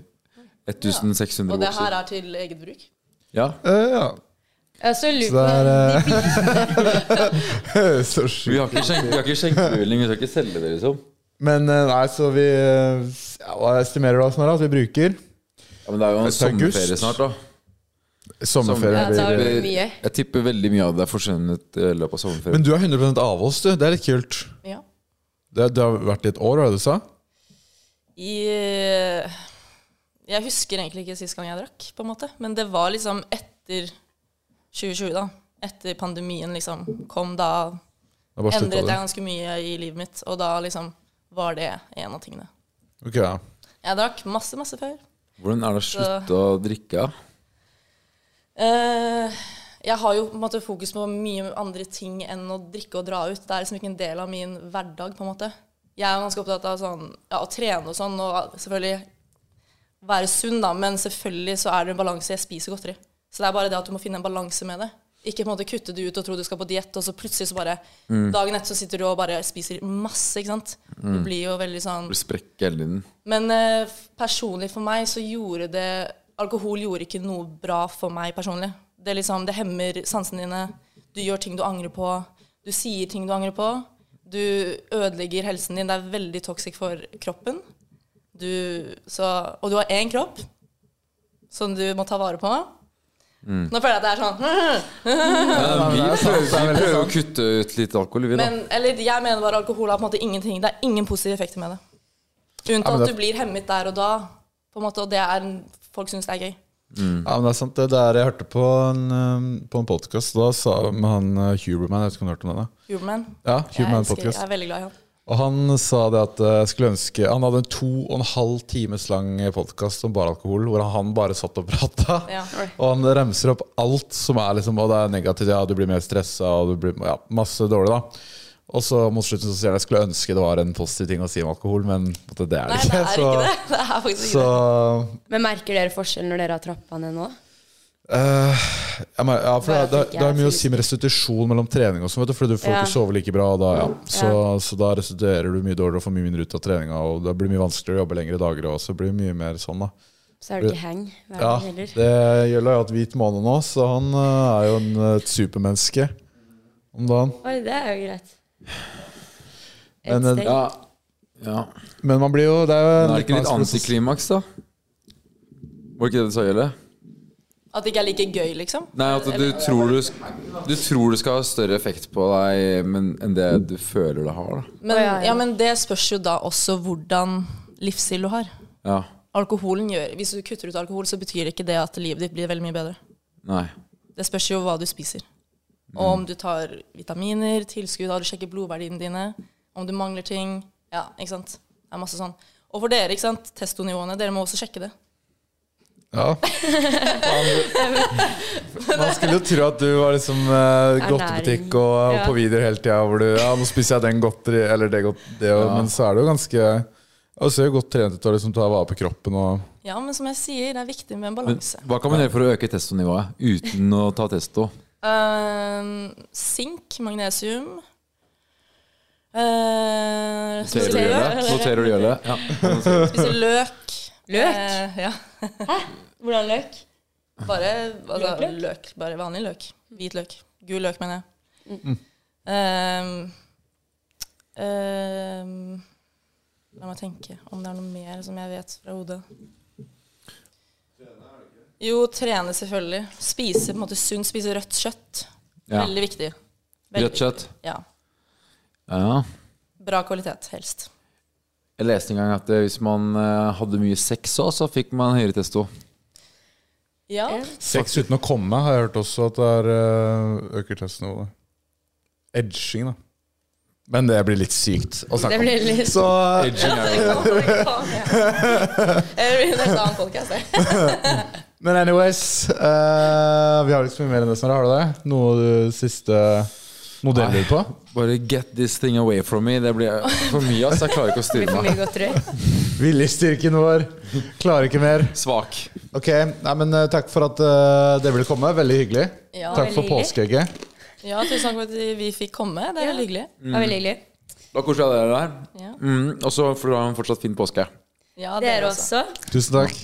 Speaker 3: 1600
Speaker 5: Og det
Speaker 3: bokser.
Speaker 5: her er til eget bruk.
Speaker 3: Ja.
Speaker 4: Eh, ja.
Speaker 6: Ja, så lurer
Speaker 4: Så det
Speaker 6: på
Speaker 4: er eh, Så
Speaker 3: Vi
Speaker 4: sjukt.
Speaker 3: har ikke skjenk- vi har ikke skjenkebevilgning, vi skal ikke selge det, liksom.
Speaker 4: Men eh, nei, så vi eh, ja, Hva estimerer du da, Snorre, at vi bruker?
Speaker 3: Ja, men det er jo en
Speaker 4: Til august.
Speaker 3: sommerferie snart, da.
Speaker 4: Sommerferien
Speaker 6: Ja, da
Speaker 4: blir
Speaker 6: er det mye.
Speaker 3: Jeg tipper veldig mye av det er forsvunnet i løpet av sommerferien.
Speaker 4: Men du er 100 av oss, du. Det er litt kult.
Speaker 5: Ja.
Speaker 4: Det, det har vært i et år, var det du sa?
Speaker 5: I Jeg husker egentlig ikke sist gang jeg drakk, på en måte. Men det var liksom etter 2020, da. Etter pandemien liksom kom, da
Speaker 4: Det er bare sluttet
Speaker 5: endret
Speaker 4: det.
Speaker 5: jeg ganske mye i livet mitt. Og da liksom var det en av tingene.
Speaker 4: Ok, ja.
Speaker 5: Jeg drakk masse, masse før.
Speaker 3: Hvordan er det å slutte å drikke? da?
Speaker 5: Eh, jeg har jo på en måte fokus på mye andre ting enn å drikke og dra ut. Det er liksom ikke en del av min hverdag, på en måte. Jeg er ganske opptatt av sånn, ja, å trene og sånn, og selvfølgelig være sunn, da. Men selvfølgelig så er det en balanse. Jeg spiser godteri. Så det er bare det at du må finne en balanse med det. Ikke på en måte kutte det ut og tro du skal på diett, og så plutselig så bare Dagen etter så sitter du og bare spiser masse, ikke sant. Du blir jo veldig sånn
Speaker 3: Du sprekker hele tiden.
Speaker 5: men eh, personlig for meg så gjorde det Alkohol gjorde ikke noe bra for meg personlig. Det, liksom, det hemmer sansene dine. Du gjør ting du angrer på. Du sier ting du angrer på. Du ødelegger helsen din. Det er veldig toxic for kroppen. Du, så, og du har én kropp som du må ta vare på.
Speaker 4: Mm.
Speaker 5: Nå føler jeg at det er sånn
Speaker 3: vi prøver, vi prøver å kutte ut litt alkohol, vi, da.
Speaker 5: Men, eller jeg mener bare alkohol har på en måte ingenting. Det er ingen positive effekter med det.
Speaker 4: Ja,
Speaker 5: Unntatt
Speaker 4: men det-
Speaker 5: at du blir hemmet der og da, på en måte, og det er folk syns det er gøy.
Speaker 4: Ja, men det er sant. Det der jeg hørte på en, eh, på en podkast, da sa med han eh, Huberman Jeg vet ikke om du hørte om den? da?
Speaker 5: Huberman.
Speaker 4: Ja,
Speaker 5: Jeg,
Speaker 4: Huberman
Speaker 5: elsker, jeg
Speaker 4: podcast.
Speaker 5: er veldig glad i han.
Speaker 4: Og han sa det at eh, jeg skulle ønske Han hadde en to og en halv times lang podkast om bare alkohol, hvor han bare satt og prata.
Speaker 5: Ja.
Speaker 4: Og han remser opp alt som er liksom Og det er negativt. Ja, du blir mer stressa, og du blir ja, masse dårlig, da. Og så mot slutten så sier han jeg skulle ønske det var en positiv ting å si om alkohol, men på en måte, det er
Speaker 5: Nei,
Speaker 4: det
Speaker 5: det
Speaker 4: ikke.
Speaker 5: er ikke det. Det er faktisk ikke
Speaker 4: Så,
Speaker 5: det.
Speaker 4: så
Speaker 6: Men merker dere forskjell når dere har trappa ned nå?
Speaker 4: Eh, jeg mer- ja, for
Speaker 6: Da
Speaker 4: det, det,
Speaker 6: fikk
Speaker 4: det er
Speaker 6: jeg
Speaker 4: mye å
Speaker 6: fysisk-
Speaker 4: si med restitusjon mellom trening og sånn, vet du, fordi du får
Speaker 6: Ja.
Speaker 4: ikke sove like bra, og da, ja. så, så da restituerer du mye dårligere og får mye mindre ut av treninga, og det blir mye vanskeligere å jobbe lengre dager, og så blir det mye mer sånn, da.
Speaker 6: Så er det ikke hang hver
Speaker 4: Ja,
Speaker 6: gang heller.
Speaker 4: det gjelder jo at hvit måne nå, så han eh, er jo en, eh, et supermenneske om dagen.
Speaker 6: Oi, det er jo greit. Et
Speaker 4: Men, eh,
Speaker 6: steg.
Speaker 3: Ja. ja.
Speaker 4: Men man blir jo Det er jo
Speaker 3: Men
Speaker 4: en
Speaker 3: er det ikke
Speaker 4: liten
Speaker 3: litt
Speaker 4: annen prosess.
Speaker 3: antiklimaks, da? Var det ikke det du sa, Jelle?
Speaker 5: At det ikke er like gøy, liksom.
Speaker 3: Nei, at du tror du, sk- du tror du skal ha større effekt på deg men, enn det du føler det har, da.
Speaker 5: Men,
Speaker 6: Å, ja, ja.
Speaker 5: ja, men det spørs jo da også hvordan livsstil du har.
Speaker 3: Ja.
Speaker 5: Alkoholen gjør, Hvis du kutter ut alkohol, så betyr det ikke det at livet ditt blir veldig mye bedre.
Speaker 3: Nei.
Speaker 5: Det spørs jo hva du spiser. Og
Speaker 4: Mm.
Speaker 5: om du tar vitaminer, tilskudd, har du sjekker blodverdiene dine, om du mangler ting. Ja, ikke sant. Det er masse sånn. Og for dere, ikke sant, testonivåene, dere må også sjekke det.
Speaker 4: Ja. Man, man skulle jo tro at du var liksom eh, godtebutikk og, og
Speaker 6: Ja.
Speaker 4: på videoer hele tida hvor du Ja, nå spiser jeg den godteri, eller det, godt, det og, Men så er du jo ganske ja, Du ser jo godt trent ut og liksom tar vare på kroppen og
Speaker 5: Ja, men som jeg sier, det er viktig med en
Speaker 3: Men,
Speaker 5: balanse.
Speaker 3: hva kan man gjøre for å øke testonivået uten å ta testo?
Speaker 5: Ehm, sink, magnesium uh,
Speaker 3: Noterer du Jelle? Noterer du Jelle? Ja.
Speaker 5: Spise løk.
Speaker 6: Løk?
Speaker 5: Eh, ja.
Speaker 6: Hvordan løk?
Speaker 5: Bare altså, løk,
Speaker 6: Løkløk?
Speaker 5: Bare vanlig løk. Hvit løk. Gul løk, mener jeg.
Speaker 3: Mm.
Speaker 5: Ehm, ehm, la meg tenke om det er noe mer som jeg vet fra hodet. Jo, trene selvfølgelig. Spise på en måte sunt. Spise rødt kjøtt.
Speaker 3: Ja.
Speaker 5: Veldig viktig. Veldig
Speaker 3: Rødt kjøtt.
Speaker 5: viktig. Ja.
Speaker 3: Ja.
Speaker 5: Bra kvalitet, helst.
Speaker 3: Jeg leste en gang at eh, hvis man eh, hadde mye sex òg, så fikk man høyere testo.
Speaker 5: Ja.
Speaker 4: Sex uten å komme har jeg hørt også at det er eh, øker testnivået. Edging, da. Men det blir litt sykt å
Speaker 6: Det
Speaker 4: snakke om.
Speaker 6: blir litt
Speaker 4: Så eh,
Speaker 3: Edging er jo
Speaker 5: Det blir en helt annen podkast, det.
Speaker 4: Men anyways, eh, vi har ikke så mye mer enn det, Snorre. Har du det? Noe du siste modeller på?
Speaker 3: Bare get this thing away from me. Det blir for mye, ass. Jeg klarer ikke å
Speaker 6: Det blir
Speaker 3: styre
Speaker 6: for
Speaker 3: meg.
Speaker 6: mye godteri.
Speaker 4: Mm. Viljestyrken vår klarer ikke mer.
Speaker 3: Svak.
Speaker 4: Ok, nei, men eh, Takk for at eh, dere ville komme. Veldig hyggelig.
Speaker 5: Ja,
Speaker 4: takk for
Speaker 6: veldig hyggelig.
Speaker 4: påskeegget.
Speaker 5: Ja, tusen takk for at vi fikk komme. Det er veldig hyggelig.
Speaker 6: Det var veldig hyggelig.
Speaker 3: Det var koselig å ha dere der.
Speaker 5: Ja.
Speaker 3: Mm, og så får du ha en fortsatt fin påske.
Speaker 5: Ja,
Speaker 6: Dere også.
Speaker 4: Tusen takk.